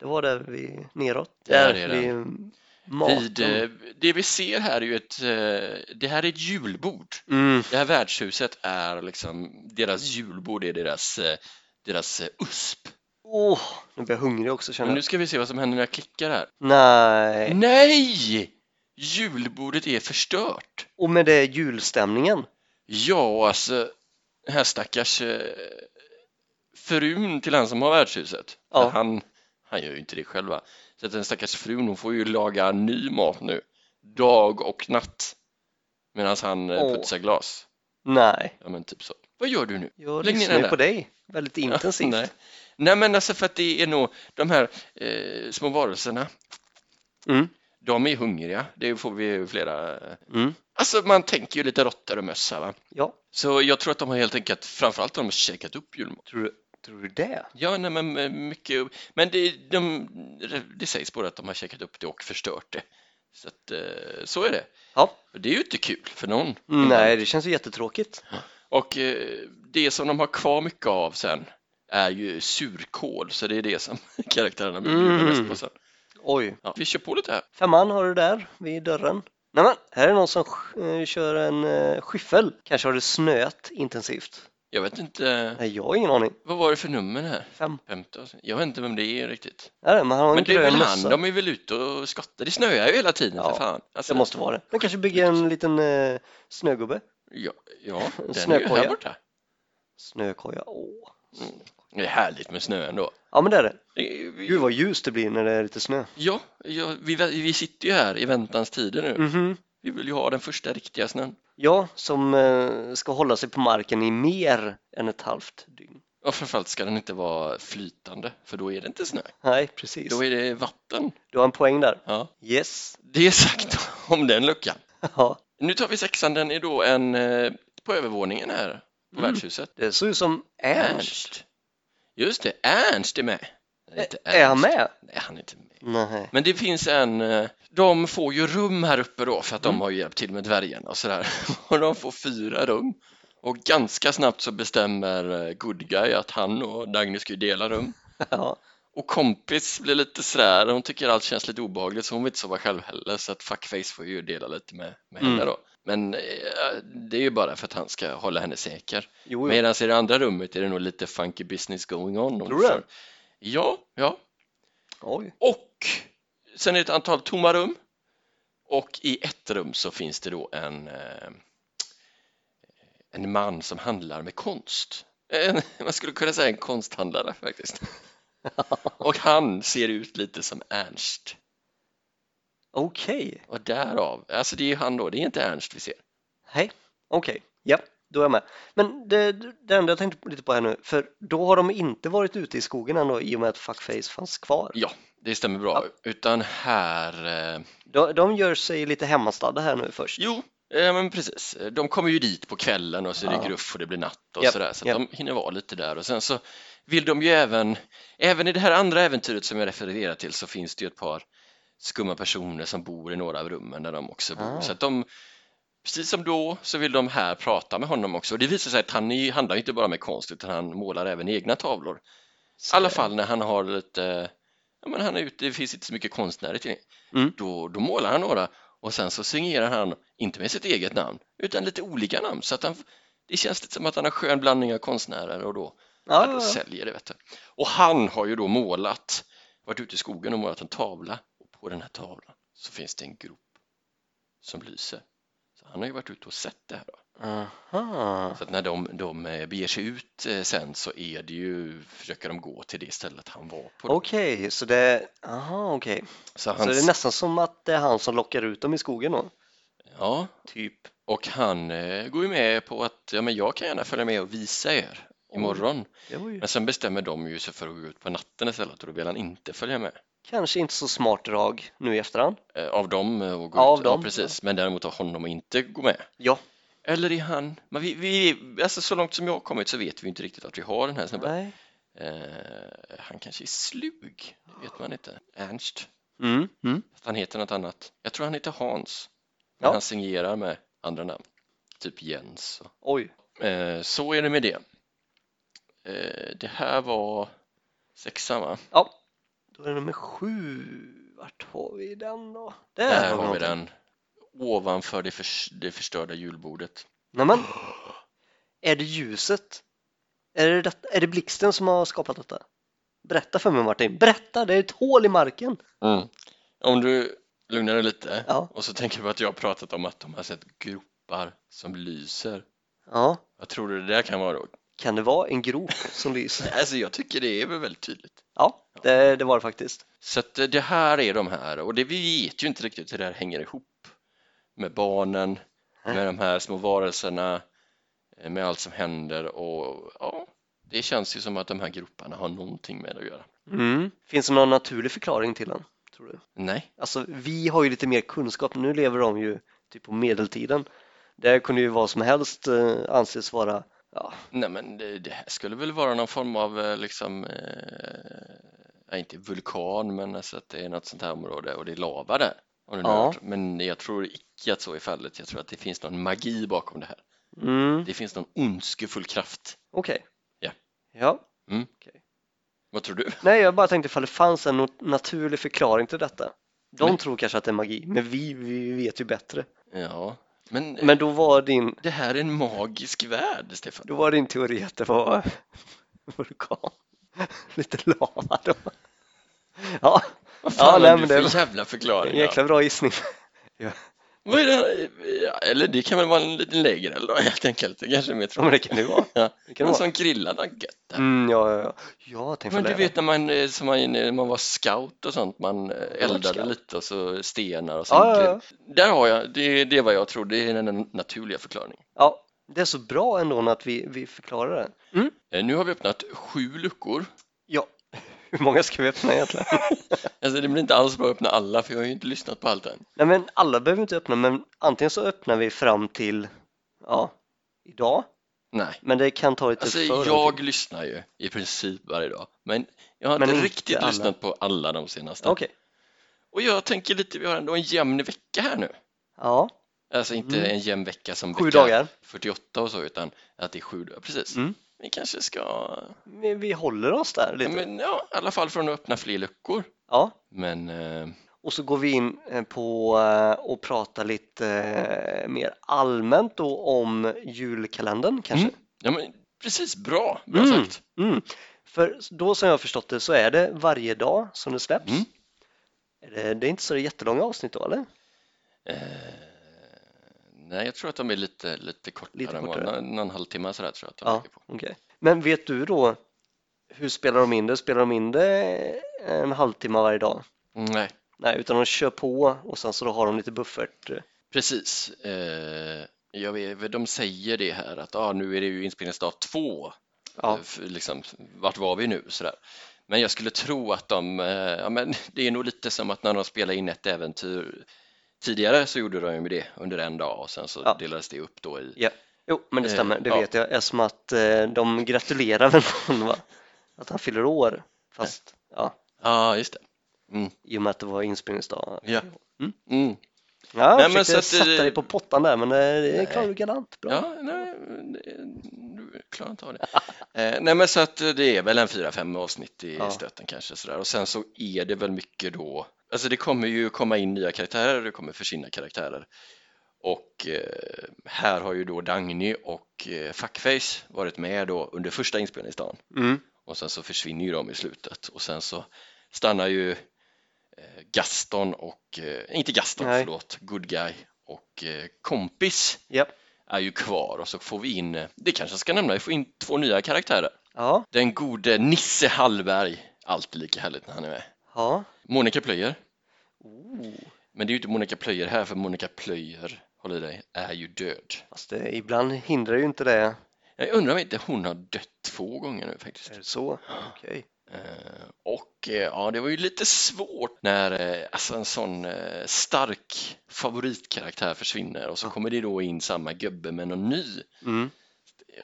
B: Det var där vi neråt.
A: Där
B: Där
A: är
B: vid maten.
A: Vid, eh, det vi ser här är ju ett, eh, det här är ett julbord.
B: Mm.
A: Det här värdshuset är liksom, deras julbord är deras, eh, deras eh, USP.
B: Åh, nu blir jag hungrig också känner
A: Men
B: jag.
A: nu ska vi se vad som händer när jag klickar här.
B: Nej.
A: Nej! Julbordet är förstört.
B: Och med det julstämningen.
A: Ja, alltså den här stackars eh, frun till han som har värdshuset.
B: Ja.
A: Han, han gör ju inte det själva. Så att den stackars frun hon får ju laga ny mat nu, dag och natt. Medan han eh,
B: Åh.
A: putsar glas.
B: Nej.
A: Ja, men typ så. Vad gör du nu?
B: Jag
A: Lägg ner
B: lyssnar
A: den
B: ju
A: där.
B: på dig väldigt intensivt.
A: Nej. Nej, men alltså för att det är nog de här eh, små varelserna.
B: Mm.
A: De är hungriga. Det får vi ju flera.
B: Mm.
A: Alltså man tänker ju lite råttor och möss här, va.
B: Ja,
A: Så jag tror att de har helt enkelt, framförallt de har käkat upp julmat.
B: tror du, tror du det?
A: Ja, nej, men eh, mycket, men det, de, det sägs både att de har käkat upp det och förstört det. Så att, eh, så är det.
B: Ja.
A: Och Det är ju inte kul för någon.
B: Mm. Nej, det känns ju jättetråkigt.
A: Och eh, det som de har kvar mycket av sen är ju surkål, så det är det som [LAUGHS] karaktärerna bjuder
B: Mm.
A: mest på sen.
B: Oj.
A: Ja, vi kör på lite här.
B: Femman har du där vid dörren. Nämen, här är någon som sk- eh, kör en eh, skyffel. Kanske har det snöat intensivt.
A: Jag vet inte,
B: Nej, jag har ingen aning.
A: vad var det för nummer här?
B: Fem.
A: Femte? avsnitt. Jag vet inte vem det är riktigt.
B: Nej, men han har en
A: Men det är väl
B: grön
A: han,
B: mössa.
A: de är väl ute och skottar. Det snöar ju hela tiden
B: Ja,
A: för fan. Alltså,
B: Det måste vara det. De kanske bygger en liten eh, snögubbe.
A: Ja, ja den är ju
B: Snökoja.
A: här borta.
B: Snökoja. Åh.
A: Det är härligt med snö ändå.
B: Ja, men det är det.
A: Det är- vi-
B: Gud vad ljust det blir när det är lite snö.
A: Ja, ja vi, vä- vi sitter ju här i väntans tider nu.
B: Mhm.
A: Vi vill ju ha den första riktiga snön.
B: Ja, som eh, ska hålla sig på marken i mer än ett halvt dygn.
A: Och framförallt ska den inte vara flytande, för då är det inte snö.
B: Nej, precis.
A: Då är det vatten.
B: Du har en poäng där.
A: Ja.
B: Yes.
A: Det är sagt [LAUGHS] om den luckan.
B: [LAUGHS] Ja,
A: Nu tar vi sexan, den är då en eh, på övervåningen här på värdshuset.
B: det såg ut som Mm. Ernst.
A: Just det, Ernst är med. Nej, inte
B: Är han
A: Ernst.
B: med?
A: Nej, han är inte med.
B: [LAUGHS] Nej.
A: Men det finns en, eh, de får ju rum här uppe då för att
B: Mm.
A: de har ju hjälpt till med dvärgen och sådär. [LAUGHS] Och de får fyra rum. Och ganska snabbt så bestämmer eh, Good Guy att han och Dagny ska ju dela rum.
B: Ja.
A: Och kompis blir lite sådär, hon tycker allt känns lite obehagligt så hon vill inte sova själv heller så att fuckface får ju dela lite med, med
B: Mm.
A: henne då. Men eh, det är ju bara för att han ska hålla henne säker.
B: Jo, jo.
A: Medan i det andra rummet är det nog lite funky business going on. om
B: Tror
A: du
B: du?
A: förstår. Ja, ja.
B: [LAUGHS] Oj.
A: Och sen är det ett antal tomma rum och i ett rum så finns det då en, eh, en man som handlar med konst. En, [LAUGHS] man skulle kunna säga en konsthandlare faktiskt. Och han ser ut lite som Ernst.
B: Okej.
A: Och därav, alltså det är ju han då, det är inte Ernst vi ser.
B: Hej. Okej. Ja, då är jag med. Men det, det enda jag tänkte lite på här nu, för då har de inte varit ute i skogen ändå i och med att fuckface fanns kvar.
A: Ja, det stämmer bra. Utan här, eh,
B: De, de gör sig lite hemmastadda här nu först.
A: jo, eh, men precis. De kommer ju dit på kvällen och så är det
B: Ja.
A: gruff och det blir natt och
B: Japp,
A: sådär. Så att
B: japp.
A: de hinner vara lite där och sen så vill de ju även, även i det här andra äventyret som jag refererar till så finns det ju ett par skumma personer som bor i några av rummen där de också bor.
B: Ah.
A: Så att de, precis som då så vill de här prata med honom också. Och det visar sig att han är- handlar ju inte bara med konst utan han målar även egna tavlor. I alla fall när han har lite, ja men han är ute, det finns inte så mycket konstnärer till
B: Mm.
A: då, då målar han några och sen så signerar han, inte med sitt eget namn, utan lite olika namn så att han, det känns lite som att han har skön blandning av konstnärer och då,
B: Ja,
A: då
B: ja, ja.
A: säljer det vet du. Och han har ju då målat, varit ute i skogen och målat en tavla och på den här tavlan så finns det en grop som lyser. Så han har ju varit ute och sett det här då.
B: Aha.
A: Så att när de, de eh, beger sig ut eh, sen så är det ju, försöker de gå till det stället han var på. då.
B: Okej, så det... Aha, okej.
A: Så
B: Så det
A: hans,
B: är nästan som att det är han som lockar ut dem i skogen då?
A: ja,
B: Typ.
A: och han eh, går ju med på att ja, men jag kan gärna följa med och visa er imorgon.
B: Det var ju
A: Men sen bestämmer de ju sig för att gå ut på natten istället och då vill han inte följa med.
B: kanske inte så smart drag nu i efterhand.
A: Eh, Av dem eh, och gå
B: Ja,
A: ut.
B: av dem,
A: ja, precis. Men däremot av honom och inte gå med.
B: Ja.
A: Eller är han, men vi, vi, alltså så långt som jag har kommit så vet vi inte riktigt att vi har den här snubben.
B: Nej.
A: Eh, han kanske är slug, det vet man inte. Ernst,
B: Mm. Mm.
A: fast han heter något annat. Jag tror han heter Hans, men
B: Ja.
A: han signerar med andra namn. Typ Jens och
B: Oj.
A: Eh, så är det med det. Eh, det här var sexan va?
B: Ja. Då är det nummer sju. Vart har vi den då? Där,
A: Där har vi
B: någonting.
A: den. Ovanför det, förs- det förstörda julbordet.
B: Nämen. Är det ljuset? Är det, detta, är det blixten som har skapat detta? Berätta för mig Martin. Berätta! Det är ett hål i marken.
A: Om du lugnar dig lite
B: Ja.
A: och så tänker du på att jag har pratat om att de har sett gropar som lyser.
B: Ja.
A: Vad tror du det där kan vara då?
B: Kan det vara en grop som lyser?
A: Alltså jag tycker det är väl väldigt tydligt.
B: Ja, det, det var det faktiskt.
A: Så att eh, det här är de här och det vi vet ju inte riktigt hur det här hänger ihop med barnen, med de här små varelserna, eh, med allt som händer och ja, det känns ju som att de här groparna har någonting med det att göra.
B: Mm. Finns det någon naturlig förklaring till den? Tror du?
A: Nej,
B: Alltså, vi har ju lite mer kunskap. Nu lever de ju typ på medeltiden. Där kunde ju vad som helst eh, anses vara, ja,
A: nej men det, det här skulle väl vara någon form av eh, liksom, eh, ja, inte vulkan men alltså att det är något sånt här område och det är lava där. Om du nu
B: Ja.
A: har hört. Men jag tror icke att så är fallet. Jag tror att det finns någon magi bakom det här.
B: mm,
A: Det finns någon ondskefull kraft.
B: okej.
A: Ja.
B: Ja,
A: Vad tror du?
B: nej, jag bara tänkte ifall det fanns en not- naturlig förklaring till detta. De
A: Men-
B: tror kanske att det är magi, men vi, vi vet ju bättre.
A: Ja, men, eh,
B: Men då var din,
A: det här är en magisk värld, Stefan.
B: då var din teori att det var [LAUGHS] vulkan. [LAUGHS] Lite lava då. [LAUGHS] Ja,
A: Vad
B: ja
A: fan
B: nej,
A: har du
B: men
A: för
B: det
A: det...
B: var
A: jävla förklaring?
B: en
A: då?
B: jäkla bra gissning.
A: Vad är det här? Ja, Eller det kan väl vara en liten lägre eller då, [LAUGHS] helt enkelt. Det kanske är mer
B: Ja, men
A: tråkigt.
B: det kan det ju vara.
A: Ja,
B: Det kan
A: en
B: det vara.
A: sån grillad har gött där.
B: Mm, ja, ja, ja. Ja, tänk
A: Men
B: ifall
A: du
B: det är det.
A: vet när man, eh, som man, när man var scout och sånt, man eh, eldade
B: scout.
A: lite och så stenar och
B: Ja,
A: sånt.
B: ja, ja.
A: Där har jag, det, det är vad jag tror, det är den naturliga förklaringen.
B: Ja, det är så bra ändå att vi, vi förklarar det. Mm.
A: Eh, Nu har vi öppnat sju
B: [LAUGHS]
A: luckor.
B: Ja, hur många ska vi öppna egentligen? [LAUGHS]
A: Alltså det blir inte alls bra att öppna alla för jag har ju inte lyssnat på allt än.
B: Nej men alla behöver vi inte öppna men antingen så öppnar vi fram till, ja, idag.
A: Nej.
B: Men det kan ta lite
A: Alltså
B: för
A: jag lyssnar ju i princip varje dag men jag har
B: Men
A: inte
B: inte
A: riktigt
B: alla.
A: lyssnat på alla de senaste.
B: Okej,
A: Och jag tänker lite, vi har ändå en jämn vecka här nu.
B: ja,
A: Alltså inte
B: Mm.
A: en jämn vecka som
B: sju
A: vecka
B: dagar.
A: 48 och så utan att det är sju dagar. Precis.
B: Mm.
A: Vi kanske ska,
B: Vi, vi håller oss där lite.
A: men ja, i alla fall från att öppna fler luckor.
B: Ja,
A: Men eh,
B: och så går vi in eh, på eh, och pratar lite eh, mer allmänt då om julkalendern kanske.
A: Ja, men precis, bra, bra
B: Mm.
A: sagt.
B: Mm. För då som jag har förstått det så är det varje dag som det släpps.
A: Mm.
B: Är Det, det är inte så jättelånga avsnitt då eller?
A: Eh, nej, jag tror att de är lite, lite kortare,
B: Lite
A: än vad-
B: kortare.
A: Någon, någon halvtimme sådär tror jag att de
B: Ja,
A: ligger på.
B: okej. Men vet du då hur spelar de in det? Spelar de in det en halvtimme varje dag?
A: Mm, Nej,
B: Nej, utan de kör på och sen så då har de lite buffert.
A: precis. Eh, jag vet, de säger det här att ah, nu är det ju inspelningsdag två.
B: Ja,
A: Eh, för Liksom, vart var vi nu? Sådär. Men jag skulle tro att de, eh, ja, men det är nog lite som att när de spelade in ett äventyr tidigare så gjorde de ju det under en dag och sen så
B: Ja.
A: delades det upp då i,
B: ja. Jo, men det
A: Eh,
B: stämmer, det
A: ja.
B: vet jag. Eftersom att eh, de gratulerar väl någon va? Att han fyller år. Fast ja,
A: ja just det.
B: i och med att det var inspelningsdag.
A: Ja.
B: Mm.
A: Mm.
B: Ja,
A: Nej,
B: jag
A: men
B: försökte
A: så att det-
B: sätta dig på pottan där men eh, det
A: Nej.
B: klarar du galant bra.
A: Ja, nej, det- du klarar inte av
B: [LAUGHS]
A: det. Eh, nej, men så att eh, det är väl en fyra, fem avsnitt i
B: Ja.
A: stöten kanske sådär. Och sen så är det väl mycket då, alltså det kommer ju komma in nya karaktärer, det kommer försvinna karaktärer. Och eh, här har ju då Dagny och eh, Fuckface varit med då under första inspelningsdagen
B: Mm.
A: och sen så försvinner ju de i slutet och sen så stannar ju eh, Gaston och, eh, inte Gaston,
B: Nej.
A: förlåt, Good Guy och eh, Kompis
B: Japp.
A: är ju kvar och så får vi in, eh, det kanske jag ska nämna, vi får in två nya karaktärer.
B: Ja,
A: Den gode Nisse Hallberg, alltid lika härligt när han är med.
B: ja.
A: Monica Plöjer,
B: Oh.
A: men det är ju inte Monica Plöjer här för Monica Plöjer, håll i dig, är ju död.
B: Fast det, ibland hindrar ju inte det.
A: Jag undrar om inte hon har dött två gånger nu faktiskt.
B: Är det så? Okej.
A: Eh, Och eh, ja, det var ju lite svårt när eh, alltså en sån eh, stark favoritkaraktär försvinner och så kommer det då in samma gubbe med någon ny.
B: Mm.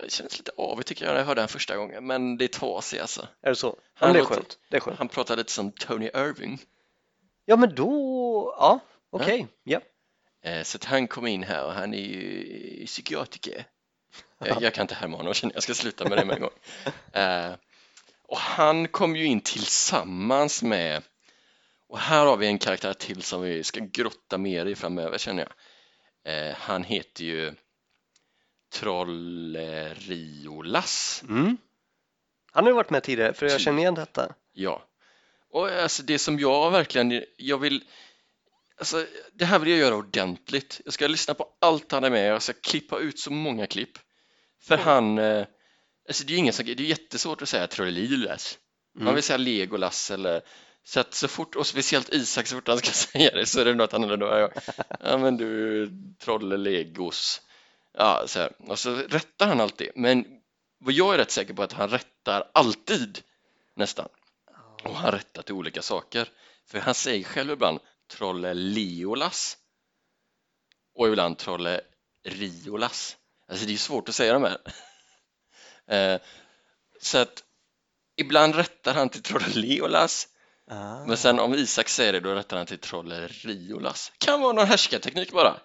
A: Jag kändes lite avig tycker jag när jag hörde den första gången, men det tar sig alltså.
B: Är det så? Ja,
A: Han
B: men det är
A: låter-
B: skönt. Det är skönt.
A: Han pratar lite som Tony Irving,
B: Ja, men då, ja, okej. Ja.
A: Eh, så att han kom in här och han är ju psykiatriker. Eh, Jag, jag kan inte härma honom känner jag, jag ska sluta med det med en gång. Eh, Och han kom ju in tillsammans med, och här har vi en karaktär till som vi ska grotta mer i framöver känner jag. Eh, Han heter ju Trolleriolas.
B: Mm. Han har ju varit med tidigare, för jag
A: Typ.
B: känner igen detta.
A: Ja, och alltså det som jag verkligen, jag vill, alltså det här vill jag göra ordentligt. Jag ska lyssna på allt han är med, jag ska klippa ut så många klipp. För han, eh, alltså det är ju ingen som, det är jättesvårt att säga Trollilas. Man
B: Mm.
A: vill säga Legolas eller så att så fort, och speciellt Isak så fort han ska [LAUGHS] säga det så är det något annat då. Ja, ja men du Trollelegos. Ja, så här. Och så rättar han alltid. Men vad jag är rätt säker på är att han rättar alltid nästan. Och han rättar till olika saker. För han säger själv ibland Trolleleolas och ibland Trolleriolas. Alltså det är ju svårt att säga de här. [LAUGHS] Eh, Så att ibland rättar han till Trolleleolas
B: Ah.
A: men sen om Isak säger det då rättar han till Trolleriolas. Kan vara någon härskarteknik bara.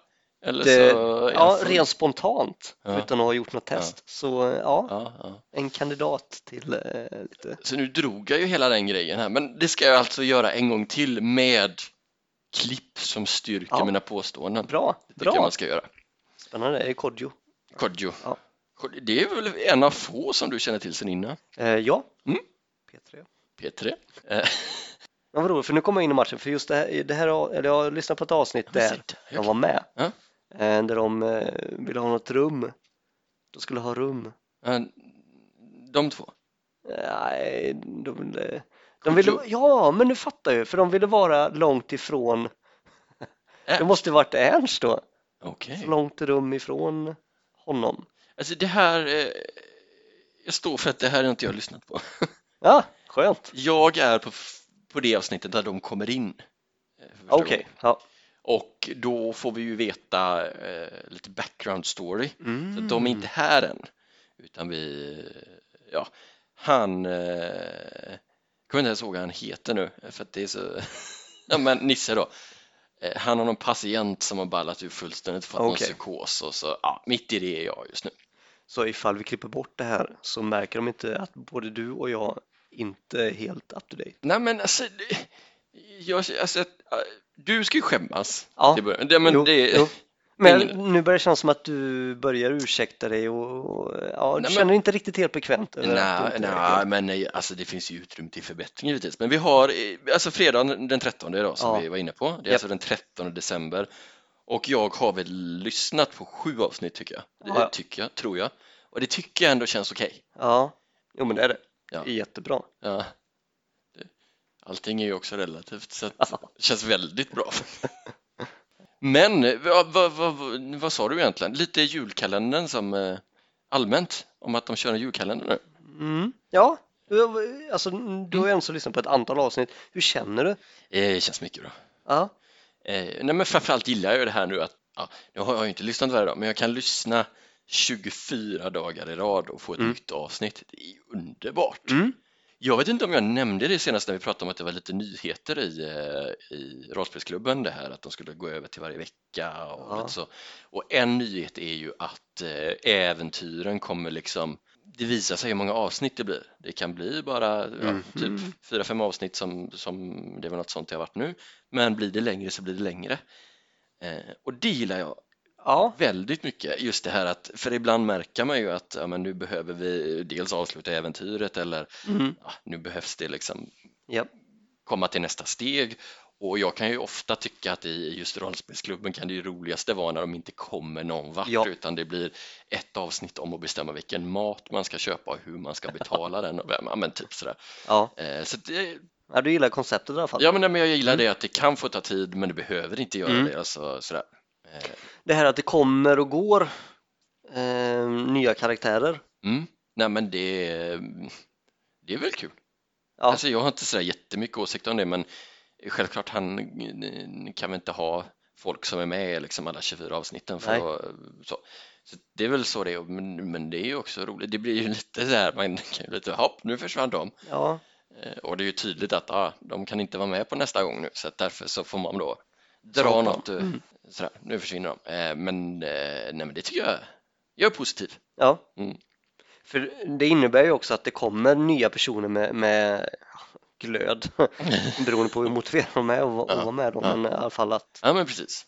A: Eller
B: det,
A: så är
B: ja,
A: han full.
B: rent spontant,
A: Ja.
B: utan att ha gjort något test. Så ja,
A: Ja, ja.
B: en kandidat till eh, lite.
A: Så nu drog jag ju hela den grejen här men det ska jag alltså göra en gång till med klipp som styrker
B: Ja.
A: mina påståenden.
B: Bra,
A: Det tycker jag
B: bra.
A: man ska göra.
B: Spännande. Är det Kodjo?
A: Kodjo.
B: Ja.
A: Kodjo, Det är väl en av få som du känner till sen innan?
B: Eh, ja.
A: Mm.
B: P3.
A: P3. Eh, [LAUGHS]
B: Men vadå, för nu kommer jag in i matchen, för just det här, det här eller jag lyssnade på ett avsnitt
A: men
B: där
A: sitta,
B: jag var med.
A: Ja.
B: Eh, Där de eh, ville ha något rum. De skulle ha rum.
A: eh, De två.
B: Nej, de ville... De
A: Kodjo.
B: ville ja, men nu fattar jag ju, för de ville vara långt ifrån... Det
A: Ernst.
B: måste ju varit Ernst då,
A: Okej.
B: så långt rum ifrån honom.
A: Alltså det här, eh, jag står för att det här har inte jag lyssnat på. [LAUGHS]
B: Ja, skönt.
A: Jag är på, f- på det avsnittet där de kommer in. eh, för första
B: Okej,
A: gången.
B: ja.
A: Och då får vi ju veta eh, lite background story. Så
B: Mm.
A: att de är inte här än. Utan vi, ja, han, eh, jag kommer inte ens ihåg vad han heter nu för att det är så, [LAUGHS] ja men Nisse då. Eh, Han har någon patient som har ballat ur fullständigt för att någon
B: Okej.
A: psykos och så, ja, mitt i det är jag just nu.
B: Så ifall vi klipper bort det här så märker de inte att både du och jag inte är helt up to date.
A: Nej men alltså, det- jag, alltså eh, du ska ju skämmas.
B: Ja.
A: till början. Det, men
B: Jo,
A: det,
B: jo. [LAUGHS] Men
A: ingen-
B: nu börjar det kännas som att du börjar ursäkta dig och, och ja, du
A: Nej, men-
B: känner dig inte riktigt helt bekvämt över att du
A: Nej,
B: inte är
A: nej,
B: helt-
A: men nej, alltså det finns ju utrymme till förbättring givetvis. Men vi har eh, alltså fredagen den 13 idag som
B: Ja.
A: vi var inne på. Det är
B: Japp.
A: alltså den 13 december och jag har väl lyssnat på sju avsnitt tycker jag. Det
B: Ja.
A: tycker jag, tror jag. Och det tycker jag ändå känns okej.
B: Ja, jo men det är det.
A: Ja.
B: Det är jättebra.
A: Ja. Det- Allting är ju också relativt så att det känns väldigt bra. Men eh, vad, vad, vad, vad, vad sa du egentligen? Lite julkalendern som eh, allmänt om att de kör en julkalender nu.
B: Mm. Ja, du- alltså du har ju ändå lyssnat på ett antal avsnitt. Hur känner du?
A: Eh, Det känns mycket bra.
B: Ja,
A: Eh, nej men framförallt gillar jag ju det här nu att, ja, nu har jag ju inte lyssnat varje dag, men jag kan lyssna 24 dagar i rad och få ett
B: Mm.
A: nytt avsnitt. Det är ju underbart!
B: Mm.
A: Jag vet inte om jag nämnde det senast när vi pratade om att det var lite nyheter i, eh, i rollspelsklubben det här att de skulle gå över till varje vecka och
B: Ja.
A: lite så. Och en nyhet är ju att eh, äventyren kommer liksom det visar sig hur många avsnitt det blir. Det kan bli bara
B: Mhm.
A: ja, typ fyra, fem avsnitt som, som det var något sånt det har varit nu. Men blir det längre så blir det längre. Eh, och det gillar jag
B: ja,
A: väldigt mycket just det här att för ibland märker man ju att ja, men nu behöver vi dels avsluta äventyret eller
B: mm.
A: ja, nu behövs det liksom
B: ja.
A: komma till nästa steg och jag kan ju ofta tycka att i just rollspelsklubben kan det ju roligaste vara när de inte kommer någon vart
B: Ja.
A: utan det blir ett avsnitt om att bestämma vilken mat man ska köpa och hur man ska betala den och vem, ja, men typ sådär.
B: ja.
A: Eh, Så det,
B: ja, du gillar konceptet i alla fall.
A: ja, men, nej, men jag gillar det att det kan få ta tid men det behöver inte göra
B: Mm.
A: det. Alltså, sådär.
B: Det här att det kommer och går eh, nya karaktärer.
A: Mm. Nej men det, det är väl kul.
B: Ja.
A: Alltså jag har inte sådär jättemycket åsikter om det men självklart han kan vi inte ha folk som är med i liksom alla 24 avsnitten för
B: Nej.
A: att, så. så det är väl så det är men, men det är ju också roligt det blir ju lite sådär man kan ju lite hopp nu försvann de
B: Ja,
A: Eh, och det är ju tydligt att ah, de kan inte vara med på nästa gång nu så att därför så får man då dra
B: Så bra.
A: något eh, sådär nu försvinner de Eh, men eh, nej men det tycker jag jag är positiv
B: ja.
A: Mm.
B: För det innebär ju också att det kommer nya personer med, med
A: [LAUGHS]
B: glöd beroende på hur motiverade de är och vad- och
A: Ja,
B: vad med dem.
A: ja.
B: Men i alla fall att,
A: Ja, men precis.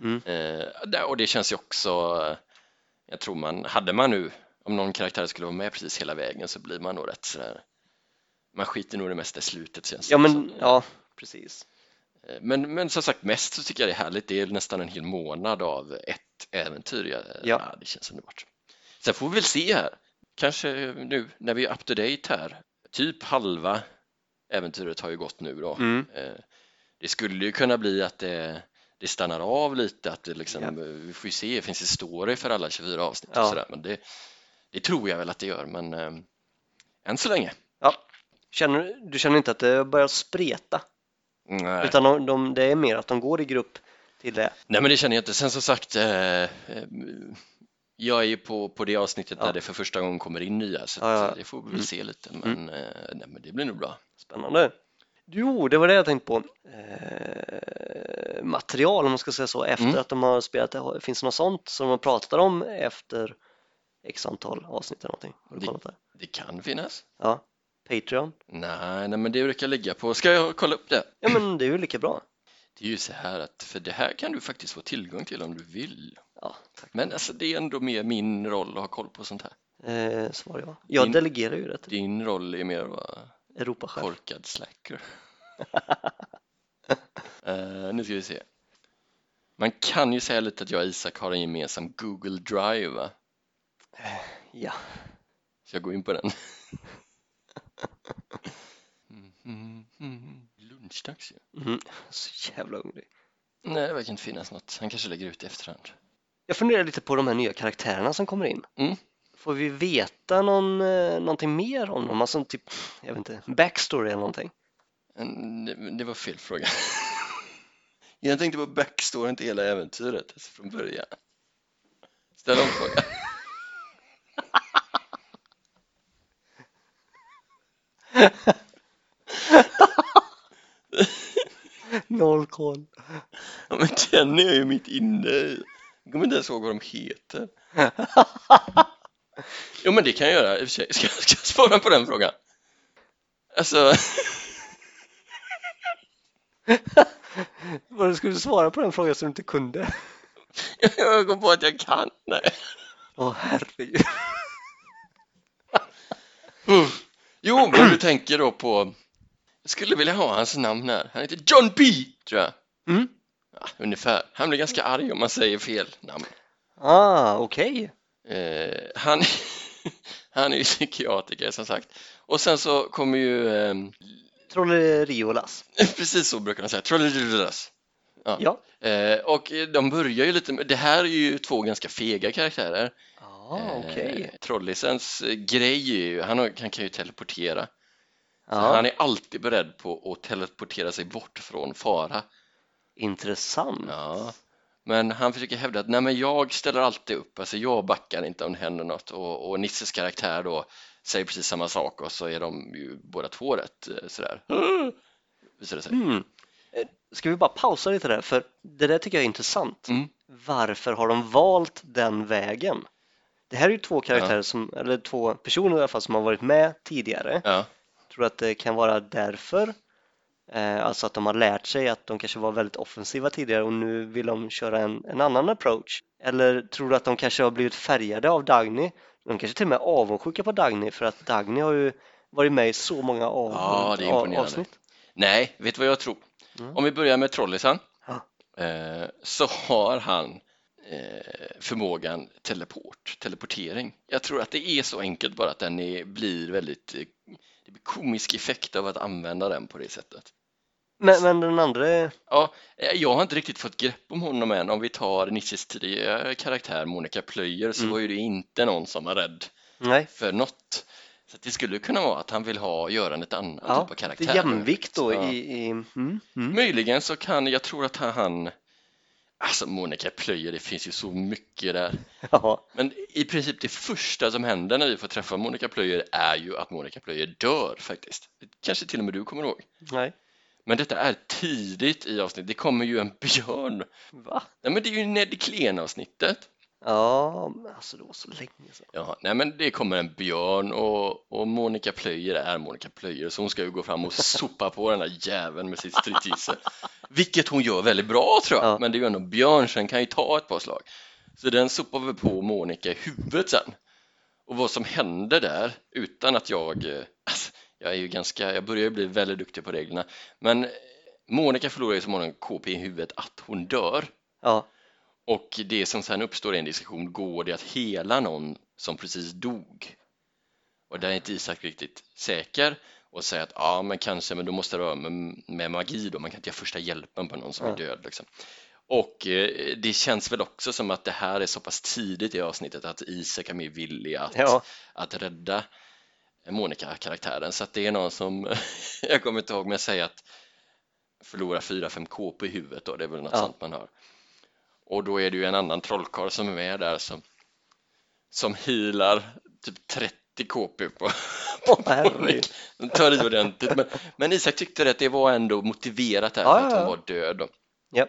B: Mm.
A: Eh, där- och det känns ju också, eh, jag tror man, hade man nu, om någon karaktär skulle vara med precis hela vägen så blir man nog rätt sådär, man skiter nog i det mesta i slutet känns det
B: ja men
A: som.
B: ja, precis.
A: Eh, men, men som sagt mest så tycker jag det är härligt, det är nästan en hel månad av ett äventyr. Jag,
B: Ja.
A: det känns underbart. Sen får vi väl se här, kanske nu när vi är up to date här, typ halva äventyret har ju gått nu då.
B: Mm.
A: Eh, Det skulle ju kunna bli att det, det stannar av lite, att det liksom, eh, vi får ju se, finns det story för alla 24 avsnitt och
B: Ja.
A: sådär, men det, det tror jag väl att det gör, men eh, än så länge.
B: Känner, du känner inte att det börjar spreta?
A: Mm, Nej.
B: Utan de, de, det är mer att de går i grupp till det.
A: Nej, men det känner jag inte. Sen som sagt, eh, eh, jag är ju på, på det avsnittet
B: Ja.
A: där det för första gången kommer in nya, så
B: Ja, ja. Mm.
A: att det får vi väl se lite, men, eh, nej, men det blir nog bra.
B: Spännande. Jo, det var det jag tänkte på. Eh, material om man ska säga så, efter
A: Mm.
B: att de har spelat det. Finns det något sånt som de pratar om efter x antal avsnitt eller någonting? Har du
A: Det-
B: kollat där?
A: Det kan finnas.
B: Ja, Patreon.
A: Nej, nej, men det brukar ligga på, ska jag kolla upp det?
B: Ja, men det är ju lika bra.
A: Det är ju så här att för det här kan du faktiskt få tillgång till om du vill.
B: Ja,
A: Men alltså det är ändå mer min roll att ha koll på sånt här.
B: eh, svarar jag. Jag
A: Din-
B: delegerar ju det till
A: Din roll är mer att vara
B: Europachef.
A: korkad slacker. Eh, nu ska vi se. Man kan ju säga lite att jag och Isak har en gemensam Google Drive va?
B: Ja.
A: Så jag går in på den. Mm, mm, mm. Lunchdags ju.
B: Mm. Så jävla hungrig.
A: Nej, det verkar inte finnas något. Han kanske lägger ut i efterhand.
B: Jag funderar lite på de här nya karaktärerna som kommer in.
A: Mm.
B: Får vi veta någon, eh, någonting mer om dem? Alltså typ, jag vet inte, backstory eller någonting?
A: Mm, det- Det var fel fråga. [LAUGHS] Jag tänkte på backstoryn till hela äventyret alltså från början. Ställ om frågan. [LAUGHS]
B: Noll koll.
A: Ja, men den är jag ju mitt inne i. Jag kommer inte ens ihåg vad de heter. Jo, men det kan jag göra i och för sig. Ska, ska jag svara på den frågan? Alltså,
B: [LAUGHS]
A: [LAUGHS]
B: Vad skulle du svara på den frågan som du inte kunde?
A: jag kom på att jag kan. Nej.
B: Åh herregud.
A: Jo, men du tänker då på... Jag skulle vilja ha hans namn här. Han heter John B, tror jag.
B: [LAUGHS] Mm.
A: Ja, ungefär. Han blir ganska arg om man säger fel namn.
B: Ah, okej.
A: Eh, han, [LAUGHS] han är ju psykiatriker som sagt. Och sen så kommer ju, ehm,
B: Trolleriolas.
A: [LAUGHS] precis så brukar de säga, trollerulas.
B: Ja.
A: Eh, och de börjar ju lite med, det här är ju två ganska fega karaktärer.
B: Ah, okej.
A: Eh, Trollisens eh, grej är ju, han, har, han kan ju teleportera. Så
B: Ja,
A: Han är alltid beredd på att teleportera sig bort från fara.
B: Intressant.
A: Ja. Men han försöker hävda att nej men jag ställer alltid upp, alltså jag backar inte om det händer något och, och Nisses karaktär då säger precis samma sak och så är de ju båda två rätt eh,
B: [GASPS]
A: sådär. Visar det sig.
B: Mm. Eh, Ska vi bara pausa lite där? För det där tycker jag är intressant.
A: Mm.
B: Varför har de valt den vägen? Det här är ju två karaktärer, som, eller två personer i alla fall, som har varit med tidigare.
A: Ja.
B: Tror du att det kan vara därför? Eh, alltså att de har lärt sig att de kanske var väldigt offensiva tidigare och nu vill de köra en, en annan approach. Eller tror du att de kanske har blivit färgade av Dagny? De kanske till och med är avundsjuka på Dagny för att Dagny har ju varit med i så många av,
A: Ja, det är
B: av-
A: imponerande.
B: avsnitt.
A: Nej, vet du vad jag tror?
B: Mm.
A: Om vi börjar med Trollisen
B: Ja.
A: eh, så har han eh, förmågan teleport, teleportering. Jag tror att det är så enkelt bara att den är, blir väldigt eh, det blir komisk effekt av att använda den på det sättet.
B: Men, men den andra
A: Ja, eh, jag har inte riktigt fått grepp om honom än. Om vi tar Nisses tidigare karaktär Monica Plöjer så
B: Mm.
A: var ju det inte någon som var rädd
B: Nej,
A: för något. Så att det skulle kunna vara att han vill ha Göran ett annat
B: ja,
A: typ av karaktär.
B: det är jämvikt då
A: Ja.
B: i... i mm, mm.
A: Möjligen så kan, jag tror att han, alltså Monica Plöjer, det finns ju så mycket där.
B: Ja,
A: Men i princip det första som händer när vi får träffa Monica Plöjer är ju att Monica Plöjer dör faktiskt. Kanske till och med du kommer ihåg.
B: nej.
A: Men detta är tidigt i avsnittet, det kommer ju en björn
B: Va?
A: Nej men det är ju Ned Klen-avsnittet.
B: Ja, men alltså det var så länge sedan.
A: Jaha, nej men det kommer en björn och, och Monica Plöjer är Monica Plöjer så hon ska ju gå fram och sopa på den där jäveln med sitt stridsgissel. Vilket hon gör väldigt bra tror jag,
B: Ja.
A: men det är ju ändå en björn så den kan ju ta ett par slag. Så den sopar väl på Monica i huvudet sen. Och vad som hände där, utan att jag... eh, Alltså, jag är ju ganska, jag börjar ju bli väldigt duktig på reglerna. Men Monica förlorar ju så många KP i huvudet att hon dör.
B: Ja,
A: Och det som sen uppstår i en diskussion, går det att hela någon som precis dog? Och där är inte Isak riktigt säker och säger att ja, men kanske, men då måste det vara med, med magi då, man kan inte göra första hjälpen på någon som är
B: Ja.
A: död liksom. Och eh, det känns väl också som att det här är så pass tidigt i avsnittet att Isak är mer villig att,
B: ja.
A: att rädda Monica-karaktären så att det är någon som, [LAUGHS] jag kommer inte ihåg, men jag säger att förlora 4-5 KP i huvudet då, det är väl något
B: Ja.
A: sånt man hör. Och då är det ju en annan trollkarl som är med där som, som healar typ 30 KP på, [LAUGHS]
B: Åh,
A: på
B: herregud.
A: Nick. De tar i ordentligt. Men, men Isak tyckte att det var ändå motiverat där
B: Ja,
A: för att
B: ja,
A: hon
B: ja.
A: var död.
B: Ja.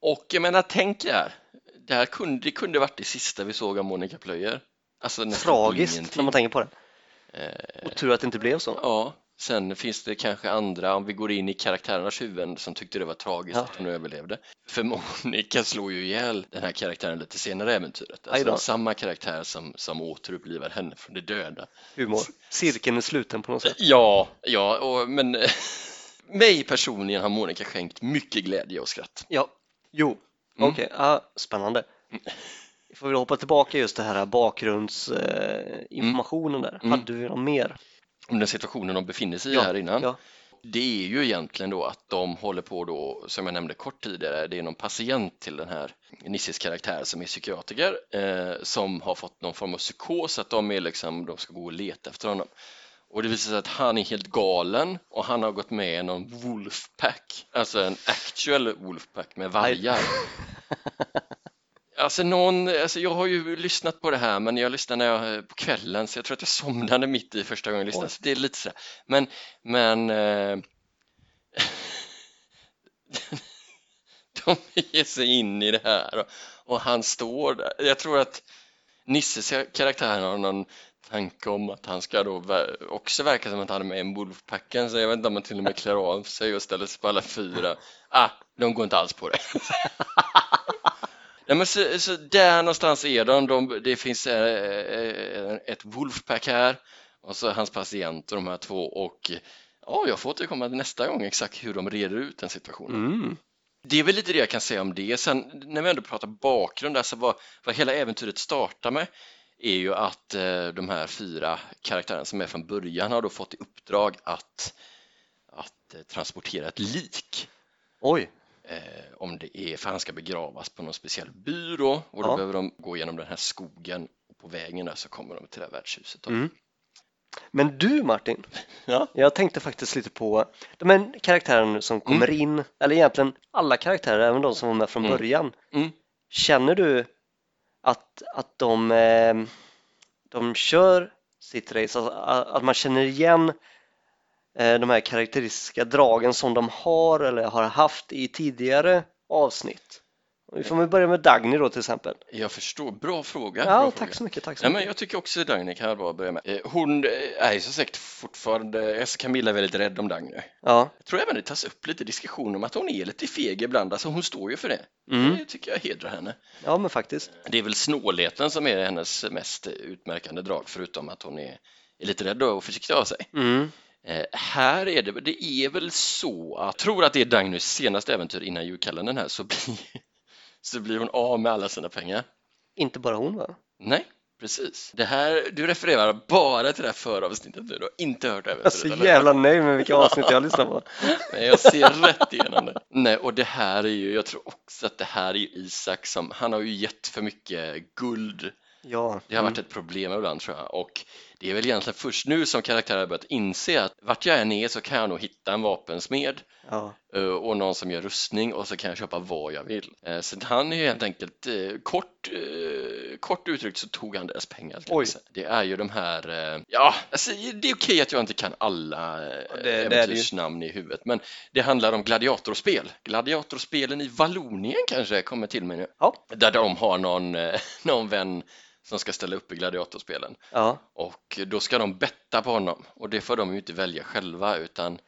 A: Och jag menar, tänk där, det här kunde, det kunde varit det sista vi såg av Monica Plöjer. Alltså nästan
B: Tragiskt när
A: ingenting.
B: man tänker på det.
A: Eh,
B: Och tur att det inte blev så.
A: Ja, sen finns det kanske andra, om vi går in i karaktärernas huvuden, som tyckte det var tragiskt
B: Ja.
A: att hon överlevde. För Monica slår ju ihjäl den här karaktären lite senare i äventyret.
B: Aj då.
A: Alltså samma karaktär som, som återupplivar henne från de döda.
B: Humor. Cirkeln är sluten på något sätt.
A: Ja, ja, och, men [LAUGHS] mig personligen har Monica skänkt mycket glädje och skratt.
B: Ja, jo,
A: Mm.
B: okej, ah, spännande. Vi får väl hoppa tillbaka just det här bakgrundsinformationen eh, informationen där.
A: Mm.
B: Hade vi någon mer?
A: Om den situationen de befinner sig i
B: Ja,
A: här innan.
B: ja.
A: det är ju egentligen då att de håller på då, som jag nämnde kort tidigare, det är någon patient till den här Nisses karaktär som är psykiatriker eh, som har fått någon form av psykos, att de är liksom, de ska gå och leta efter honom. Och det visar sig att han är helt galen och han har gått med i någon wolfpack, alltså en actual wolfpack med vargar. Alltså någon, alltså jag har ju lyssnat på det här men jag lyssnade när jag, eh, på kvällen så jag tror att jag somnade mitt i första gången jag lyssnade
B: Oj.
A: så det är lite sådär. Men, men eh, [LAUGHS] de ger sig in i det här och, och han står där. Jag tror att Nisses karaktär har någon tanke om att han ska då ver- också verka som att han är med i en Wolfpacken så jag vet inte om han till och med klär av sig och ställer sig på alla fyra. Ah, de går inte alls på det. [LAUGHS] Nej, men så, så där någonstans är de. de det finns eh, eh, ett Wolfpack här och så hans patient och de här två och ja, jag får återkomma nästa gång exakt hur de reder ut den situationen.
B: Mm.
A: Det är väl lite det jag kan säga om det. Sen när vi ändå pratar bakgrund, alltså vad, vad hela äventyret startar med är ju att eh, de här fyra karaktärerna som är från början har då fått i uppdrag att, att eh, transportera ett lik
B: Oj,
A: eh, om det är för han ska begravas på någon speciell byrå och då
B: Ja.
A: behöver de gå genom den här skogen och på vägen där så kommer de till det här värdshuset. då.
B: Mm. men du Martin,
A: Ja. Mm.
B: jag tänkte faktiskt lite på de här karaktärerna som kommer in, eller egentligen alla karaktärer, även de som var med från
A: Mm.
B: början.
A: Mm.
B: Känner du att, att de, eh, de kör sitt race, alltså, a- att man känner igen eh, de här karaktäristiska dragen som de har eller har haft i tidigare avsnitt? Vi får väl börja med Dagny då till exempel.
A: Jag förstår, bra fråga. bra
B: Ja,
A: fråga.
B: tack så mycket, tack så
A: Nej,
B: mycket.
A: men jag tycker också Dagny kan vara bra att börja med. Eh, Hon eh, är ju som sagt fortfarande, alltså Camilla är väldigt rädd om Dagny.
B: Ja,
A: Jag tror även det tas upp lite diskussion om att hon är lite feg ibland, alltså hon står ju för det.
B: Mm.
A: Det tycker jag hedrar henne.
B: ja men faktiskt.
A: Det är väl snålheten som är hennes mest utmärkande drag förutom att hon är, är lite rädd och försiktig av sig.
B: Mm.
A: Eh, här är det, det är väl så att, jag tror att det är Dagnys senaste äventyr innan julkalendern här, så blir, [LAUGHS] så blir hon av med alla sina pengar.
B: Inte bara hon va?
A: Nej, precis. Det här, du refererar bara till det här föravsnittet nu, du har inte hört äventyret
B: Jag är så
A: eller?
B: Alltså, jävla nöjd med vilka avsnitt jag lyssnar på.
A: Nej, jag ser rätt igenom det. Nej, och det här är ju, jag tror också att det här är ju Isak som, han har ju gett för mycket guld.
B: Ja,
A: Det har varit ett problem ibland tror jag och det är väl egentligen först nu som karaktärer har börjat inse att vart jag än är så kan jag nog hitta en vapensmed
B: ja.
A: eh, och någon som gör rustning och så kan jag köpa vad jag vill. Eh, Så han är ju helt enkelt, eh, kort, eh, kort uttryckt så tog han deras pengar. ska jag
B: Oj.
A: säga. Det är ju de här, eh, ja, alltså, det är okej att jag inte kan alla eh,
B: Ja, det- det är det ju.
A: äventyrsnamn i huvudet, men det handlar om gladiatorspel. Gladiatorspelen i Vallonien kanske kommer till mig nu,
B: Ja.
A: där de har någon, eh, [LAUGHS] någon vän som ska ställa upp i gladiatorspelen.
B: ja.
A: Och då ska de betta på honom och det får de ju inte välja själva utan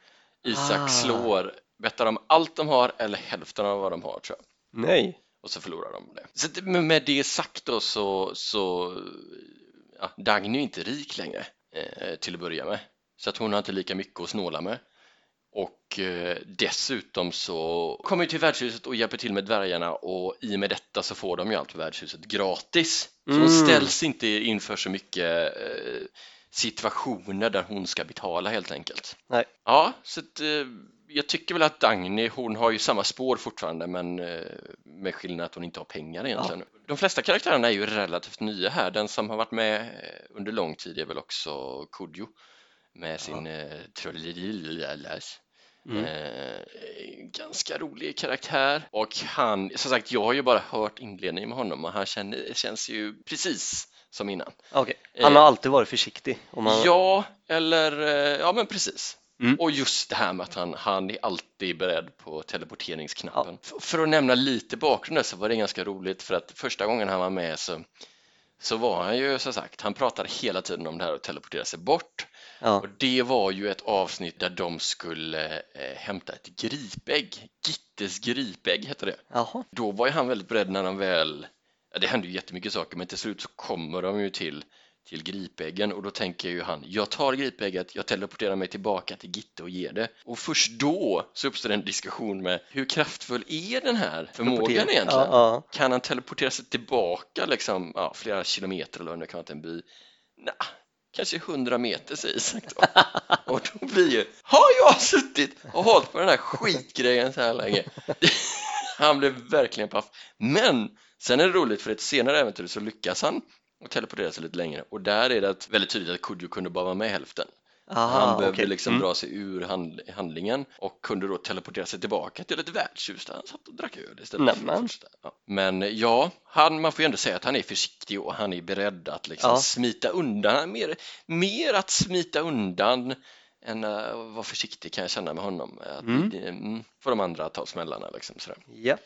A: Isak
B: Ah.
A: slår, bettar de allt de har eller hälften av vad de har tror jag
B: Nej.
A: och så förlorar de det. Så att- men med det sagt då så, så ja, Dagny är inte rik längre eh, till att börja med så att hon har inte lika mycket att snåla med och eh, dessutom så kommer ju till värdshuset och hjälper till med dvärgarna och i och med detta så får de ju allt på värdshuset gratis. Så hon
B: Mm.
A: ställs inte inför så mycket eh, situationer där hon ska betala helt enkelt.
B: Nej.
A: Ja, så att, eh, jag tycker väl att Dagny, hon har ju samma spår fortfarande men eh, med skillnad att hon inte har pengar egentligen. De flesta karaktärerna är ju relativt nya här. Den som har varit med eh, under lång tid är väl också Kodjo med sin eh, Trollilalas.
B: Mm.
A: Eh, ganska rolig karaktär och han, som sagt jag har ju bara hört inledningen med honom och han känner, känns ju precis som innan.
B: Okej. Han
A: Eh.
B: har alltid varit försiktig. Om han...
A: Ja, eller eh, ja men precis.
B: Mm.
A: Och just det här med att han, han är alltid beredd på teleporteringsknappen. F- För att nämna lite bakgrund där så var det ganska roligt för att första gången han var med så, så var han ju som sagt, han pratade hela tiden om det här att teleportera sig bort.
B: Ja.
A: Och det var ju ett avsnitt där de skulle eh, hämta ett gripägg. Gittes gripägg hette det.
B: Jaha.
A: Då var ju han väldigt beredd när han väl, ja, det hände ju jättemycket saker men till slut så kommer de ju till, till gripäggen och då tänker ju han, jag tar gripägget, jag teleporterar mig tillbaka till Gitte och ger det. Och först då så uppstår en diskussion med hur kraftfull är den här förmågan
B: Teleportering.
A: egentligen?
B: Ja,
A: Kan han teleportera sig tillbaka liksom, ja, flera kilometer eller vad det nu kan vara till en by? Nej, kanske 100 meter säger Isak då. Och då blir ju, har jag suttit och hållit på den här skitgrejen så här länge? [LAUGHS] Han blev verkligen paff. Men sen är det roligt för i ett senare äventyr så lyckas han och teleporterar sig lite längre och där är det väldigt tydligt att Kodjo kunde bara vara med hälften. han behövde
B: okej.
A: liksom
B: Mm.
A: dra sig ur hand, handlingen och kunde då teleportera sig tillbaka till ett värdshus där han satt och drack öl istället. för
B: Nämen.
A: första. Ja. Men ja, han, man får ju ändå säga att han är försiktig och han är beredd att liksom
B: Ja.
A: smita undan. Han är Mer, mer att smita undan än att vara försiktig kan jag känna med honom. Att,
B: Mm.
A: det- mm, Får de andra ta smällarna liksom sådär.
B: Ja,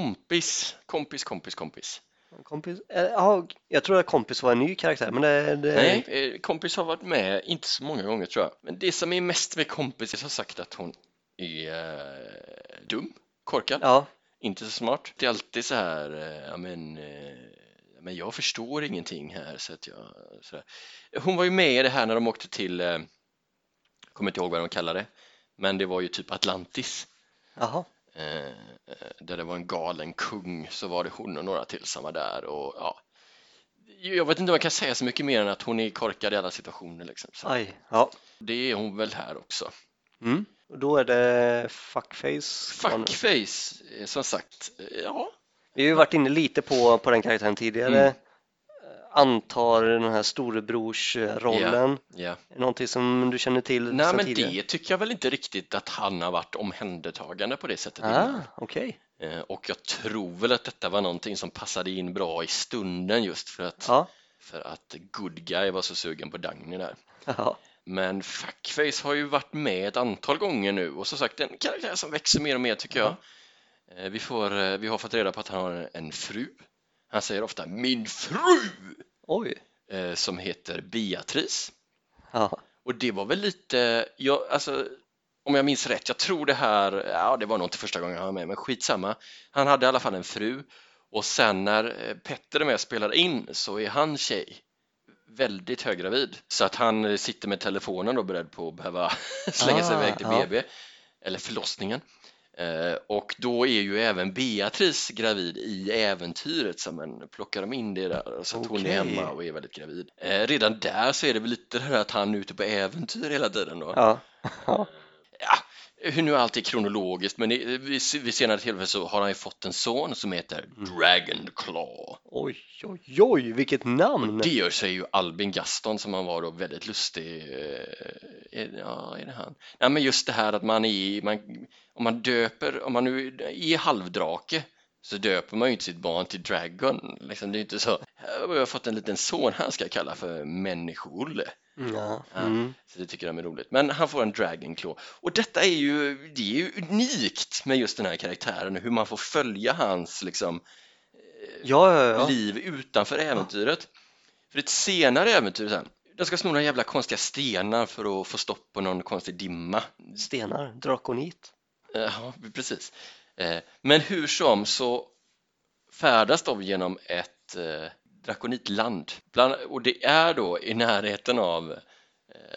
A: Kompis, kompis, kompis, kompis.
B: kompis. eh, Ja, jag tror att kompis var en ny karaktär, men det... det
A: Nej, eh, kompis har varit med inte så många gånger tror jag. Men det som är mest med kompis är som sagt att hon är eh, dum, korkad,
B: Ja,
A: inte så smart. Det är alltid så här, eh, ja men, eh, ja, men jag förstår ingenting här så att jag... Så där. Hon var ju med i det här när de åkte till, eh, kommer inte ihåg vad de kallade det, men det var ju typ Atlantis.
B: jaha.
A: Eh, eh, där det var en galen kung så var det hon och några till som var där och ja jag vet inte om jag kan säga så mycket mer än att hon är korkad i alla situationer liksom. så
B: Aj, ja.
A: det är hon väl här också
B: Mm. Och då är det fuckface.
A: fuckface eh, som sagt eh, ja
B: Vi har ju varit inne lite på, på den karaktären tidigare.
A: Mm.
B: Antar den här storebrorsrollen.
A: ja
B: Är det Någonting som du känner till
A: nej
B: sedan
A: men
B: tidigare?
A: det tycker jag väl inte riktigt att han har varit omhändertagande på det sättet
B: Ah,
A: innan.
B: okej.
A: Eh, och jag tror väl att detta var någonting som passade in bra i stunden just för att
B: Ja.
A: för att good guy var så sugen på Dagny där
B: ja.
A: Men Fuckface har ju varit med ett antal gånger nu och som sagt en karaktär som växer mer och mer tycker jag. Eh, Vi, får, eh, vi har fått reda på att han har en fru. Han säger ofta min fru
B: Oj.
A: eh, som heter Beatrice.
B: Ja.
A: Och det var väl lite, jag, alltså, om jag minns rätt, jag tror det här, ja det var nog inte första gången han var med, men skitsamma. Han hade i alla fall en fru och sen när eh, Petter är med och spelar in så är han tjej väldigt höggravid så att han eh, sitter med telefonen då beredd på att behöva [LAUGHS] slänga sig
B: Ah,
A: iväg till
B: ja.
A: BB eller förlossningen Eh, och då är ju även Beatrice gravid i äventyret så man plockar de in det där så att hon är
B: Okej.
A: hemma och är väldigt gravid. Eh, redan där så är det väl lite det här att han är ute på äventyr hela tiden då.
B: Ja. Ja.
A: Hur nu allt är kronologiskt men i- eh, vid vid senare tillfälle så har han ju fått en son som heter Dragonclaw.
B: Oj, oj, oj, vilket namn!
A: Det gör sig ju Albin Gaston som han var då väldigt lustig. eh, Är, ja, är det han? Nej, men just det här att man är, man, om man döper, om man nu är halvdrake så döper man ju inte sitt barn till Dragon. Liksom, det är ju inte så. Här har jag fått en liten son han ska kalla för Människo-Olle.
B: Ja.
A: Ja,
B: Mm.
A: Så det tycker de är roligt. Men han får en dragonclaw. Och detta är ju, det är ju unikt med just den här karaktären och hur man får följa hans liksom,
B: Ja, ja, ja.
A: liv utanför äventyret. För ett senare äventyr sen, de ska sno några jävla konstiga stenar för att få stopp på någon konstig dimma.
B: Stenar, drakonit.
A: Eh, Ja, precis. Eh, Men hur som så färdas de genom ett eh, drakonitland. Bland, och det är då i närheten av eh,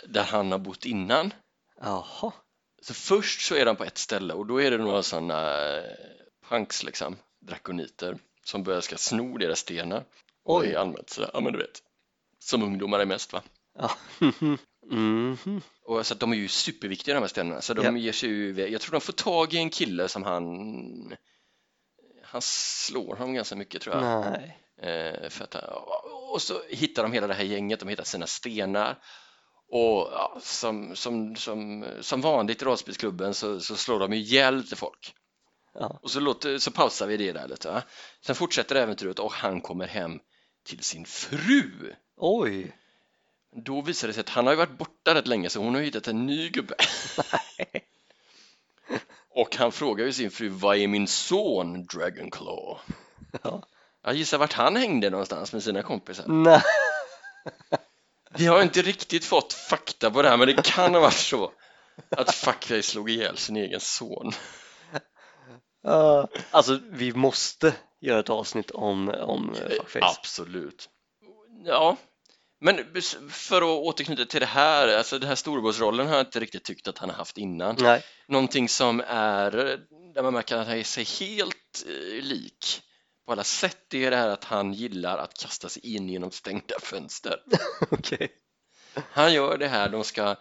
A: där han har bott innan.
B: Jaha.
A: Så först så är de på ett ställe och då är det några sådana eh, punks liksom, drakoniter som börjar ska sno deras stenar och
B: Oj.
A: är allmänt sådär, ja men du vet, som ungdomar är mest va.
B: Ja. [LAUGHS] Mhm.
A: Och så att de är ju superviktiga de här stenarna så de
B: Ja.
A: ger sig ju iväg. Jag tror de får tag i en kille som han han slår honom ganska mycket tror jag.
B: Nej.
A: Eh, för att, och så hittar de hela det här gänget, de hittar sina stenar och ja, som, som, som, som vanligt i rollspelsklubben så, så slår de ju ihjäl lite folk.
B: Ja.
A: Och så, låter, så pausar vi det där lite. Va? Sen fortsätter äventyret och han kommer hem till sin fru.
B: Oj.
A: Då visar det sig att han har ju varit borta rätt länge så hon har hittat en ny gubbe. och han frågar ju sin fru, vad är min son Dragonclaw?
B: Ja.
A: Jag gissar vart han hängde någonstans med sina kompisar.
B: Nej.
A: Vi har inte riktigt fått fakta på det här men det kan ha varit så att Fuckface slog ihjäl sin egen son.
B: Ja. alltså, vi måste göra ett avsnitt om, om eh, fuckface.
A: Absolut. Ja, men för att återknyta till det här, alltså den här storebrorsrollen har jag inte riktigt tyckt att han har haft innan.
B: Nej. [LAUGHS]
A: Någonting som är, där man märker att han är sig helt eh, lik på alla sätt, det är det här att han gillar att kasta sig in genom stängda fönster.
B: Okej.
A: Han gör det här, de ska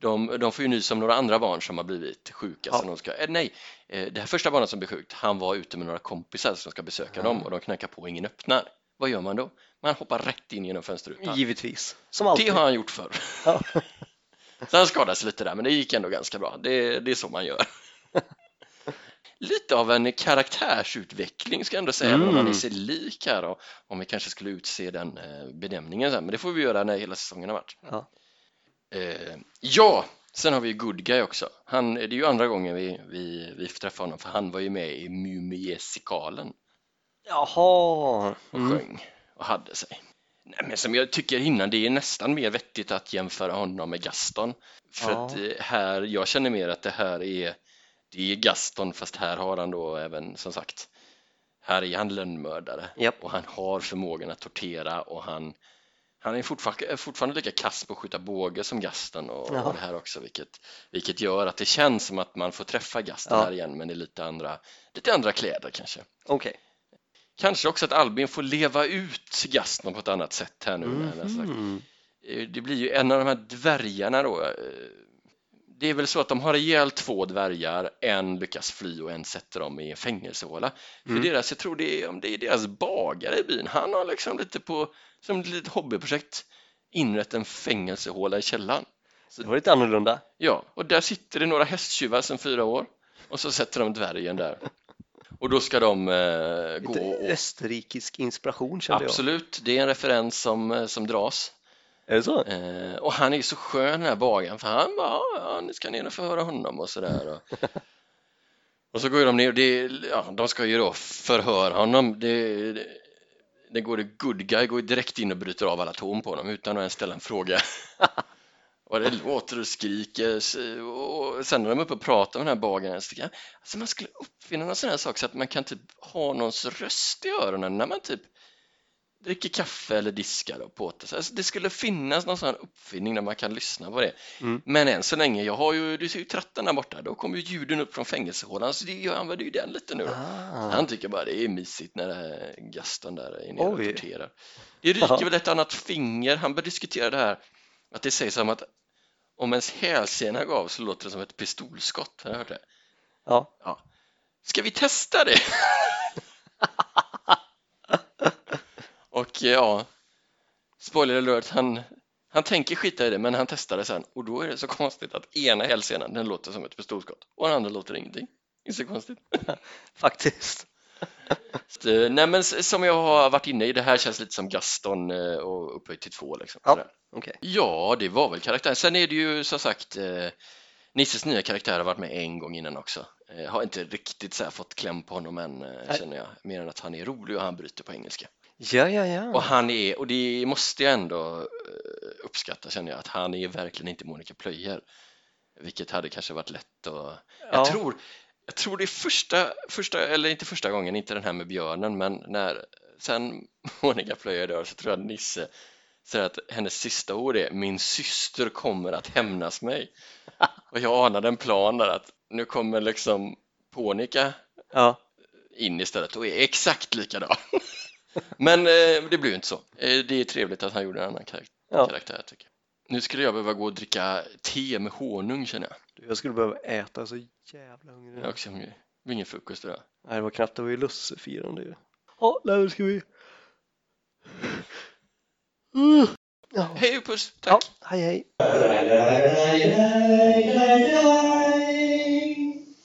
A: de, de får ju nys om några andra barn som har blivit sjuka.
B: Ja.
A: Så de ska, eh, nej, eh, det här första barnet som blir sjukt, han var ute med några kompisar som ska besöka dem och de knackar på och ingen öppnar. Vad gör man då? Man hoppar rätt in genom fönsterrutan.
B: Givetvis. Som alltid.
A: Det har han gjort förr.
B: Ja.
A: Så han skadades lite där, men det gick ändå ganska bra. Det, det är så man
B: [LAUGHS]
A: gör. Lite av en karaktärsutveckling ska jag ändå säga, även om
B: Mm.
A: han är sig lik här och om vi kanske skulle utse den eh, benämningen sen, men det får vi göra när hela säsongen har varit.
B: Ja.
A: Eh, ja, sen har vi ju Good Guy också. Han, det är ju andra gången vi, vi, vi får träffa honom, för han var ju med i Mumiesikalen
B: Jaha.
A: och
B: Mm.
A: sjöng och hade sig. Nej, men som jag tycker innan, det är nästan mer vettigt att jämföra honom med Gaston. För
B: Ja.
A: att eh, här, jag känner mer att det här är, det är Gaston fast här har han då även som sagt, här är han lönnmördare
B: Japp.
A: och han har förmågan att tortera och han, han är fortfarande, är fortfarande lika kass på att skjuta båge som Gaston och,
B: Ja.
A: och det här också vilket, vilket gör att det känns som att man får träffa Gaston
B: Ja.
A: här igen men i lite andra, lite andra kläder kanske.
B: Okej.
A: Kanske också att Albin får leva ut Gaston på ett annat sätt här nu. när han har sagt.
B: Mhm.
A: Eh, Det blir ju en av de här dvärgarna då. eh, Det är väl så att de har ihjäl två dvärgar, en lyckas fly och en sätter dem i en fängelsehåla.
B: Mm.
A: För deras, jag tror det är, om det är deras bagare i byn, han har liksom lite på, som ett litet hobbyprojekt, inrett en fängelsehåla i källaren.
B: Det var lite annorlunda.
A: Ja, och där sitter det några hästtjuvar sedan fyra år och så sätter de dvärgen där. Och då ska de eh, gå
B: Lite
A: och
B: österrikisk inspiration kände
A: Absolut, det är en referens som, eh, som dras.
B: jag. Är det så?
A: Eh, och han är ju så skön den här bagaren för han bara, "Ja, ja, nu ska ni in och förhöra honom och sådär. [LAUGHS] Och, och så går ju de ner, och det, är- ja, de ska ju då förhöra honom. Det, det, det går det good guy går ju direkt in och bryter av alla torn på dem utan att ens ställa en fråga. Och det låter och skriker så- och sen när de är uppe och pratar med den här bagaren så tycker jag, alltså man skulle uppfinna någon sån här sak så att man kan typ ha någons röst i öronen när man typ dricker kaffe eller diskar och påtar sig. Alltså det skulle finnas någon sån här uppfinning där man kan lyssna på det.
B: Mm.
A: Men än så länge, jag har ju, du ser ju tratten där borta, då kommer ju ljuden upp från fängelsehålan så det- jag använder ju den lite nu då.
B: Ah.
A: Han tycker bara det är mysigt när det här Gaston där är nere och
B: Oj.
A: torterar. Det
B: Ja.
A: ryker väl ett annat finger. Han börjar diskutera det här att det sägs som att om ens hälsena gav så låter det som ett pistolskott. Har du hört det?
B: Ja.
A: Ska vi testa det? [LAUGHS] och ja, spoiler alert, han, han tänker skita i det men han testar det sen och då är det så konstigt att ena hälsenan den låter som ett pistolskott och den andra låter ingenting. Det är så konstigt.
B: [LAUGHS] Faktiskt.
A: Så, eh, Nej men s- som jag har varit inne i, det här känns lite som Gaston eh, och upphöjt till två liksom.
B: Ja.
A: Sådär.
B: Okej.
A: ja, det var väl karaktären. Sen är det ju som sagt eh, Nisses nya karaktär har varit med en gång innan också. Eh, har inte riktigt så här, fått kläm på honom än eh,
B: Nej.
A: känner jag. Mer än att han är rolig och han bryter på engelska.
B: Ja, ja, ja.
A: Och han är, och det måste jag ändå eh, uppskatta känner jag, att han är verkligen inte Monica Plöjer. Vilket hade kanske varit lätt att jag,
B: Ja.
A: tror, jag tror det är första, första, eller inte första gången, inte den här med björnen, men när sen [LAUGHS] Monica Plöjer dör så tror jag att Nisse säger att hennes sista ord är min syster kommer att hämnas
B: [LAUGHS]
A: mig. Och jag anade en plan där att nu kommer liksom Monica
B: ja.
A: in istället och är exakt likadan. [LAUGHS] Men eh, det blir ju inte så. Eh, det är trevligt att han gjorde en annan karak-
B: Ja.
A: karaktär tycker jag. Nu skulle jag behöva gå och dricka te med honung känner jag.
B: Du, Jag skulle behöva äta så jävla hungrig.
A: Jag är också hungrig. Det blir ingen frukost idag.
B: Nej, det var knappt, det var ju lussefirande ju. Ja, nej, nu ska vi... Mm. Ja.
A: Hej och puss! Tack!
B: Ja, hej hej.
D: Yeah.